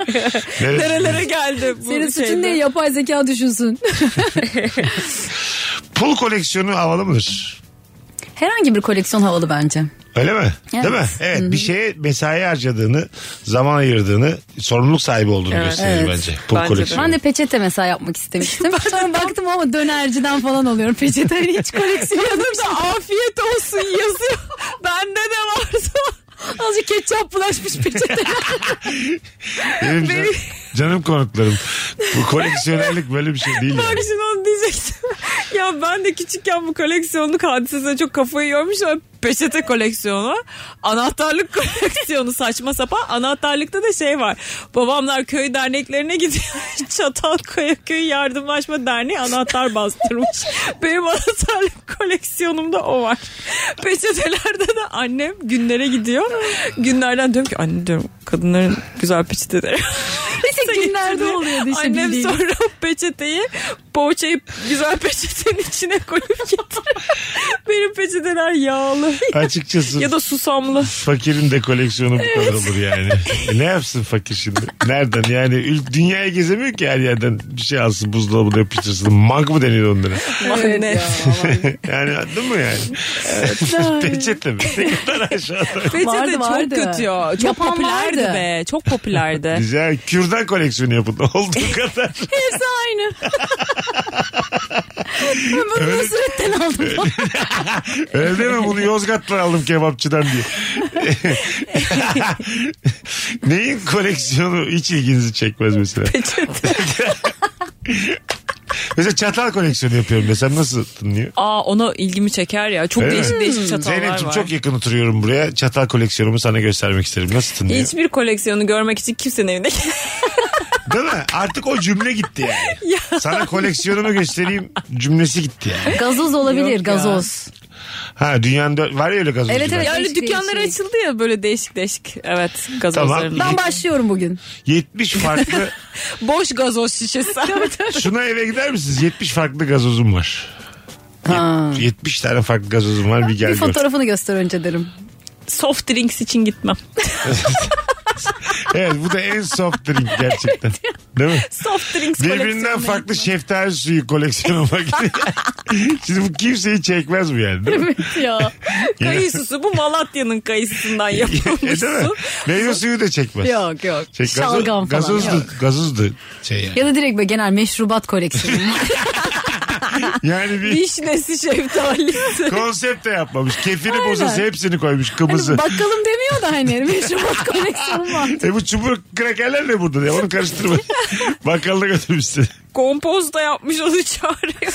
Neresi-
Nerelere geldi bu
Senin suçun
şeyde?
ne? Yapay zeka düşünsün.
Pul koleksiyonu havalı mıdır?
Herhangi bir koleksiyon havalı bence.
Öyle mi?
Evet.
Değil mi? Evet bir şeye mesai harcadığını, zaman ayırdığını, sorumluluk sahibi olduğunu gösterir
Evet.
bence. Pul
Bence de.
koleksiyonu.
Ben de peçete mesela yapmak istemiştim. Sonra baktım ama dönerciden falan alıyorum. Peçete hani hiç koleksiyon
Yanımda afiyet olsun yazıyor. Bende de varsa.
Azıcık ketçap bulaşmış peçete.
Benim can- canım konuklarım. Bu koleksiyonerlik böyle bir şey değil.
Bak
Yani.
şimdi onu diyecektim. ya ben de küçükken bu koleksiyonluk hadisesine çok kafayı yormuşum. Peçete koleksiyonu, anahtarlık koleksiyonu saçma sapan. Anahtarlıkta da şey var. Babamlar köy derneklerine gidiyor. Çatalkaya Köy Yardımlaşma Derneği anahtar bastırmış. Benim anahtarlık koleksiyonumda o var. Peçetelerde de annem günlere gidiyor. Günlerden diyorum ki anne diyorum kadınların güzel peçeteleri.
Bir tek günlerde
getirdi.
oluyordu işte
Annem
bildiğin.
sonra o peçeteyi poğaçayı güzel peçetenin içine koyup getiriyor. Benim peçeteler yağlı
Açıkçası
ya da susamlı.
fakirin de koleksiyonu bu kadar olur yani. E ne yapsın fakir şimdi? Nereden yani? Ül- Dünyaya gezemiyor ki her yerden. Bir şey alsın buzdolabına yapıştırsın. Mank mı deniyor onlara?
Evet
yani değil mi yani? Peçete mi? Ne kadar aşağıda.
Peçete
Vardı,
çok
vardı.
kötü ya. Çok
Yapan
popülerdi
vardı.
be. Çok popülerdi.
Güzel. Kürdan koleksiyonu yapın. Olduğu kadar.
Hepsi aynı. ben bunu Nusret'ten aldım.
Öyle deme bunu Yozgat'tan aldım kebapçıdan diye. Neyin koleksiyonu hiç ilginizi çekmez mesela? mesela çatal koleksiyonu yapıyorum desem nasıl tınlıyor?
Aa ona ilgimi çeker ya. Çok
Öyle mi?
değişik değişik çatallar
Zeynep'ciğim
var.
çok yakın oturuyorum buraya. Çatal koleksiyonumu sana göstermek isterim. Nasıl tınlıyor?
Hiçbir koleksiyonu görmek için kimsenin evine
Değil mi? Artık o cümle gitti yani. Sana koleksiyonumu göstereyim cümlesi gitti yani.
gazoz olabilir
Yok ya.
gazoz.
Ha dünyanın dört- var ya öyle gazoz.
Evet, evet.
Ya öyle
Değişik
dükkanlar
değişik.
açıldı ya böyle değişik değişik. şey. Evet gazozların.
Tamam.
Ben başlıyorum bugün.
70 farklı
Boş gazoz şişesi.
Şuna eve gider misiniz? 70 farklı gazozum var. Yet- 70 tane farklı gazozum var bir gel
bir
gör.
fotoğrafını göster önce derim.
Soft drinks için gitmem.
Evet bu da en soft drink gerçekten. Değil mi?
Soft drinks
Birbirinden
koleksiyonuna
farklı şeftali suyu koleksiyonu var. Şimdi bu kimseyi çekmez mi yani? Değil mi?
ya. Kayısısı bu Malatya'nın kayısından
E,
yapılmış
değil mi?
su.
Meyve suyu da çekmez.
Yok yok.
Çek, Şey, gazo-
Şalgam falan.
Gazozdu,
Yok.
gazozdu şey yani.
Ya da direkt böyle genel meşrubat koleksiyonu.
Yani bir
Vişnesi şeftalisi.
konsept de yapmamış. Kefini bozası hepsini koymuş kımızı.
hani bakkalım demiyor da hani meşrubat koleksiyonu var.
E bu çubuk krakerler ne burada? diye. Onu karıştırma. Bakkalına götürmüş seni.
Kompoz da yapmış onu çağırıyor.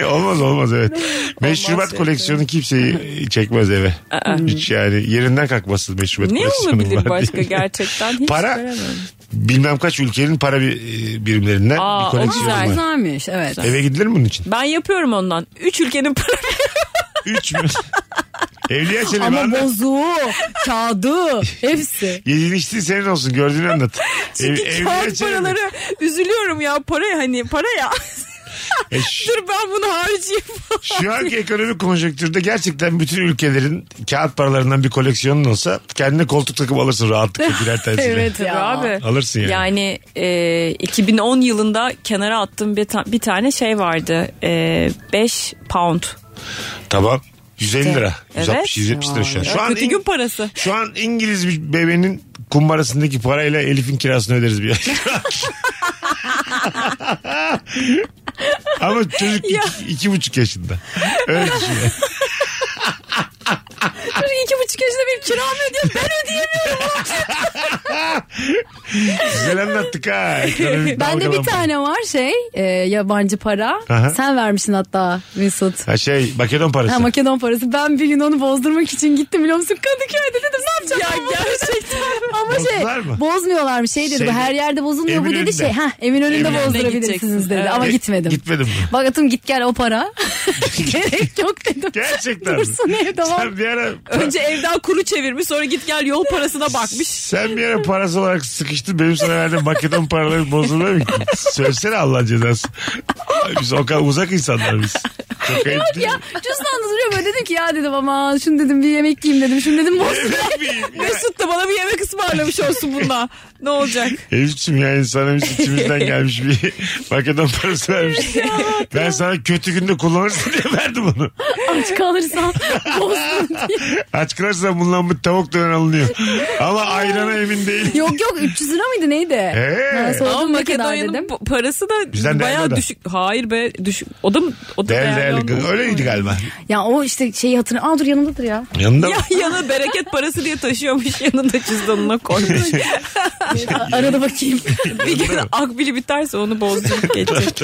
olmaz olmaz evet. Meşrubat
evet,
koleksiyonu kimseyi çekmez eve. Hiç yani yerinden kalkmasın meşrubat
ne
koleksiyonu var
olabilir başka
diye.
gerçekten? Hiç
Para-
göremiyorum.
Bilmem kaç ülkenin para bir, e, birimlerinden
Aa,
bir
o
koleksiyonu
güzel.
var.
Güzelmiş evet.
Eve gidilir mi bunun için?
Ben yapıyorum ondan. Üç ülkenin para
Üç mü? Evliya Çelebi
Ama
anlat.
bozuğu, kağıdı hepsi.
Yediğin içtiğin senin olsun gördüğünü anlat.
Çünkü
Ev-
kağıt paraları üzülüyorum ya para hani para ya.
E, şu-
Dur ben bunu harcayayım.
Şu anki ekonomik konjonktürde gerçekten bütün ülkelerin kağıt paralarından bir koleksiyonun olsa kendine koltuk takımı alırsın rahatlıkla birer tanesiyle.
Evet ya.
abi.
Alırsın yani.
Yani e, 2010 yılında kenara attığım bir, ta- bir tane şey vardı. 5 pound.
Tamam. 150 lira.
Evet.
160 170 lira şu an. Şu an,
Kötü
İng-
gün parası.
şu an İngiliz bir bebenin kumbarasındaki parayla Elif'in kirasını öderiz bir ay. Ama çocuk
Ya.
iki, iki buçuk yaşında. Öyle düşün.
Çocuk iki buçuk yaşında benim kiramı ödüyor. Ben ödeyemiyorum.
Güzel anlattık ha. Ekonomik
Bende bir
dalgalanma.
tane var şey e, yabancı para.
Aha.
Sen vermişsin hatta Mesut.
Ha şey Makedon parası.
Ha, Makedon parası. Ben bir gün onu bozdurmak için gittim biliyor musun? Kadıköy'de dedim ne yapacağım? Ya gerçekten. Ama
Bozdular
şey
mı?
bozmuyorlar mı? Şey dedi bu
Şeyde-
her yerde bozulmuyor. bu dedi
Eminönü'nde.
şey ha emin önünde
Eminönü'ne
bozdurabilirsiniz dedi.
gideceksin.
Ama
Evet.
gitmedim.
Gitmedim mi?
Bak atım git gel o para. Gerek yok dedim.
Gerçekten. mi?
Dursun evde var.
Sen bir ara
Önce evden kuru çevirmiş sonra git gel yol parasına bakmış.
Sen bir ara parası olarak sıkıştın. Benim sana verdiğim Makedon paraları bozulmuyor mu? ki? Söylesene Allah cezası. Ay, Biz o kadar uzak insanlar biz. Çok ayıp değil mi?
Ya cüzdanla duruyor böyle dedim ki ya dedim aman şunu dedim bir yemek yiyeyim dedim. Şunu dedim bozdur.
Evet miyim? Ya,
Mesut da bana bir yemek ısmarlamış olsun bununla. Ne olacak?
Elif'ciğim ya insana biz içimizden gelmiş bir Makedon parası vermiş. ben sana kötü günde kullanırsın diye verdim onu.
Aç kalırsan bozdum diye.
Aç kalırsan bundan bir tavuk döner alınıyor. Ama ayrana emin değil.
Yok yok 300 lira mıydı neydi?
Ee?
Ben sordum
Ama
ne kadar
Makedonya'nın
dedim.
pa- parası da
Bizden değerli o
bayağı
da.
düşük. Hayır be düşük. O da mı? O da
Değerli
değerli
değerli.
olmuyor.
Öyleydi galiba.
Ya o işte şeyi hatırla. Aa dur yanımdadır ya.
Yanında mı?
Ya yanı bereket parası diye taşıyormuş yanında cüzdanına koymuş.
A- Arada bakayım.
bir gün akbili biterse onu bozdurup geçecek.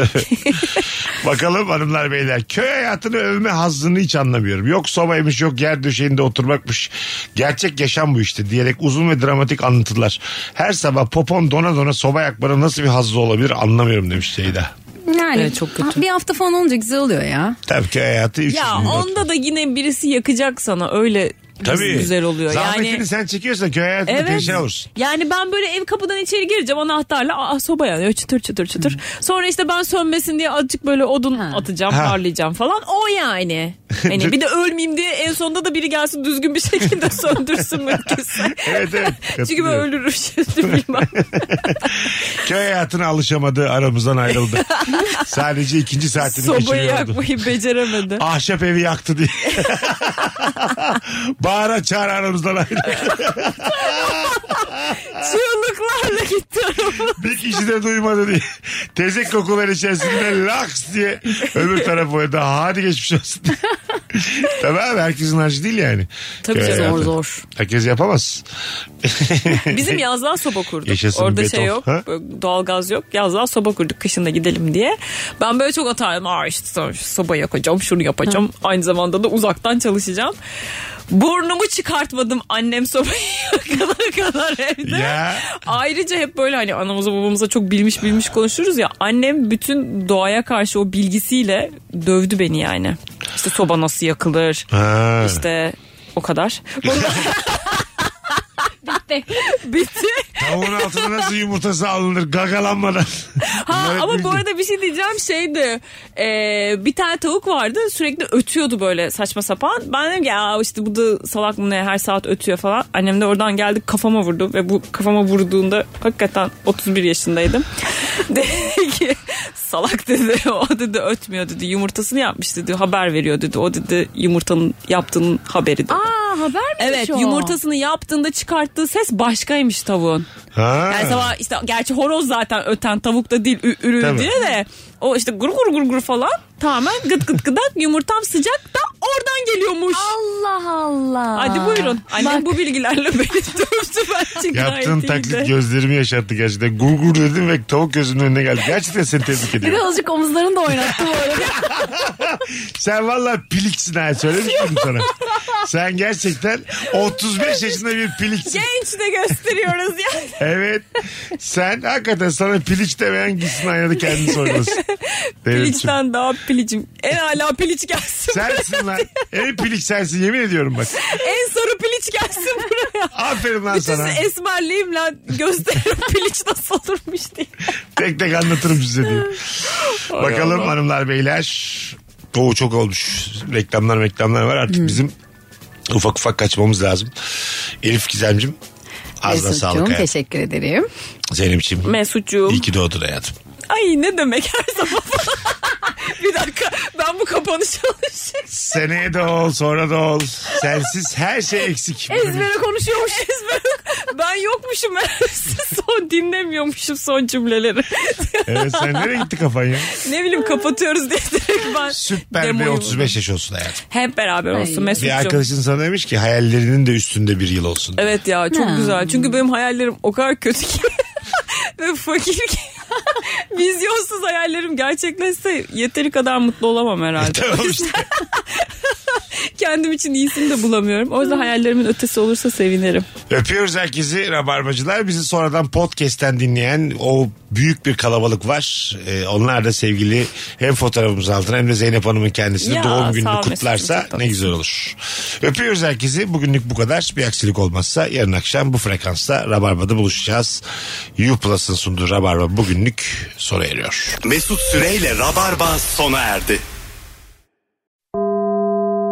Bakalım hanımlar beyler. Köy hayatını övme hazzını hiç anlamıyorum. Yok sobaymış yok yer döşeğinde oturmakmış. Gerçek yaşam bu işte diyerek uzun ve dramatik anlatırlar. Her sabah popon dona dona soba yakmanın nasıl bir hazzı olabilir anlamıyorum demiş Ceyda.
Yani
Evet, çok kötü.
bir hafta falan olunca güzel oluyor ya.
Tabii köy hayatı 300
ya
bin lira.
onda da yine birisi yakacak sana öyle
Tabii.
güzel oluyor.
Zahmetini
Yani
sen çekiyorsan köy hayatında
Evet.
perişan olursun.
Yani ben böyle ev kapıdan içeri gireceğim anahtarla aa soba yanıyor çıtır çıtır çıtır. Sonra işte ben sönmesin diye azıcık böyle odun atacağım
Ha.
parlayacağım falan o yani. Hani bir de ölmeyeyim diye en sonunda da biri gelsin düzgün bir şekilde söndürsün mümkünse.
Evet evet.
Çünkü ben
Katılıyorum.
ölürüm şimdi bilmem.
Köy hayatına alışamadı aramızdan ayrıldı. Sadece ikinci saatini
Sobayı
geçiriyordu.
yakmayı beceremedi.
Ahşap evi yaktı diye. Bağıra çağıra aramızdan ayrıldı.
Çığlıklar. Motorla gitti araba.
Bir kişi de duymadı diye. Tezek kokular içerisinde laks diye öbür taraf oynadı. Hadi geçmiş olsun. Tabii abi herkesin harcı değil yani.
Tabii
Köy
canım.
hayatı.
Zor zor.
Herkes yapamaz.
Bizim yazlığa soba kurduk.
Yaşasın
Orada
beton.
şey yok.
Ha?
böyle Doğalgaz yok. Yazlığa soba kurduk kışında gidelim diye. Ben böyle çok atardım. Aa işte sonra şu soba yakacağım, şunu yapacağım. Aynı zamanda da uzaktan çalışacağım. Burnumu çıkartmadım annem sobayı yakana kadar evde.
ya
Ayrıca hep böyle hani anamıza babamıza çok bilmiş bilmiş konuşuruz ya. Annem bütün doğaya karşı o bilgisiyle dövdü beni yani. İşte soba nasıl yakılır.
Ha.
İşte o kadar. Bitti. Bitti.
tavuğun altına nasıl yumurtası alınır gagalanmadan.
Ha,
Bunları
ama bu
bildim.
arada bir şey diyeceğim şeydi. Ee, bir tane tavuk vardı sürekli ötüyordu böyle saçma sapan. Ben dedim ki ya işte bu da salak mı ne her saat ötüyor falan. Annem de oradan geldi kafama vurdu ve bu kafama vurduğunda hakikaten 31 yaşındaydım. dedi ki salak dedi o dedi ötmüyor dedi yumurtasını yapmış dedi haber veriyor dedi. O dedi yumurtanın yaptığının haberi dedi.
Aa haber mi?
Evet yumurtasını yaptığında çıkarttığı ses başkaymış tavuğun.
Ha.
Yani sabah işte gerçi horoz zaten öten tavuk da değil ü- ürül
Tabii.
diye de o işte gur gur gur gur falan tamamen gıt gıt gıdak yumurtam sıcak da oradan geliyormuş.
Allah Allah.
Hadi buyurun. Annem bu bilgilerle beni dövdü bence gayet
Yaptığın
iyiydi.
taklit gözlerimi yaşarttı gerçekten. Gurgur dedim ve tavuk gözümün önüne geldi. Gerçekten seni tebrik
Bir de
ediyorum.
azıcık omuzlarını da oynattı böyle.
Sen valla piliksin ha söylemiştim sana. Sen gerçekten 35 yaşında bir piliksin.
Genç de gösteriyoruz yani.
Evet. Sen hakikaten sana piliç demeyen gitsin aynada kendini sorgulasın. Devletciğim.
Piliçten daha pilicim. En hala piliç gelsin.
Sensin lan. En piliç sensin yemin ediyorum bak.
En sarı piliç gelsin buraya.
Aferin lan
Bütün
sana.
esmerliğim lan gösteririm piliç nasıl olurmuş diye.
Tek tek anlatırım size diye. Bakalım hanımlar beyler. O çok olmuş. Reklamlar reklamlar var artık bizim ufak ufak kaçmamız lazım. Elif Gizemcim ağzına sağlık hayatım.
teşekkür ederim.
Zeynep'ciğim
Mesutcuğum.
iyi ki doğdun hayatım.
Ay ne demek her zaman. bir dakika ben bu kapanışı alışayım.
Seneye de ol sonra da ol. Sensiz her şey eksik.
Ezbere konuşuyormuş. Ezbere. Ben yokmuşum. son dinlemiyormuşum son cümleleri.
Evet sen nereye gitti kafan ya?
ne bileyim kapatıyoruz diye direkt ben.
Süper bir
demoyu-
35 yaş olsun hayatım.
Hep beraber olsun
Ay.
Mesut'cum.
Bir arkadaşın sana demiş ki hayallerinin de üstünde bir yıl olsun.
Evet ya çok
Ha.
güzel. Çünkü benim hayallerim o kadar kötü ki. Ve fakir ki. Vizyonsuz hayallerim gerçekleşse yeteri kadar mutlu olamam herhalde.
Tamam işte.
Kendim için iyisini de bulamıyorum. O yüzden hayallerimin ötesi olursa sevinirim.
Öpüyoruz herkesi Rabarbacılar. Bizi sonradan podcast'ten dinleyen o büyük bir kalabalık var. Ee, onlar da sevgili hem fotoğrafımız altına hem de Zeynep Hanım'ın kendisini
Ya,
doğum
sağ
gününü
ol
kutlarsa
Mesut'cum, çok
ne güzel olur. Öpüyoruz herkesi. Bugünlük bu kadar. Bir aksilik olmazsa yarın akşam bu frekansta Rabarba'da buluşacağız. U Plus'ın sunduğu Rabarba bugünlük sona eriyor.
Mesut Süreyle Rabarba sona erdi.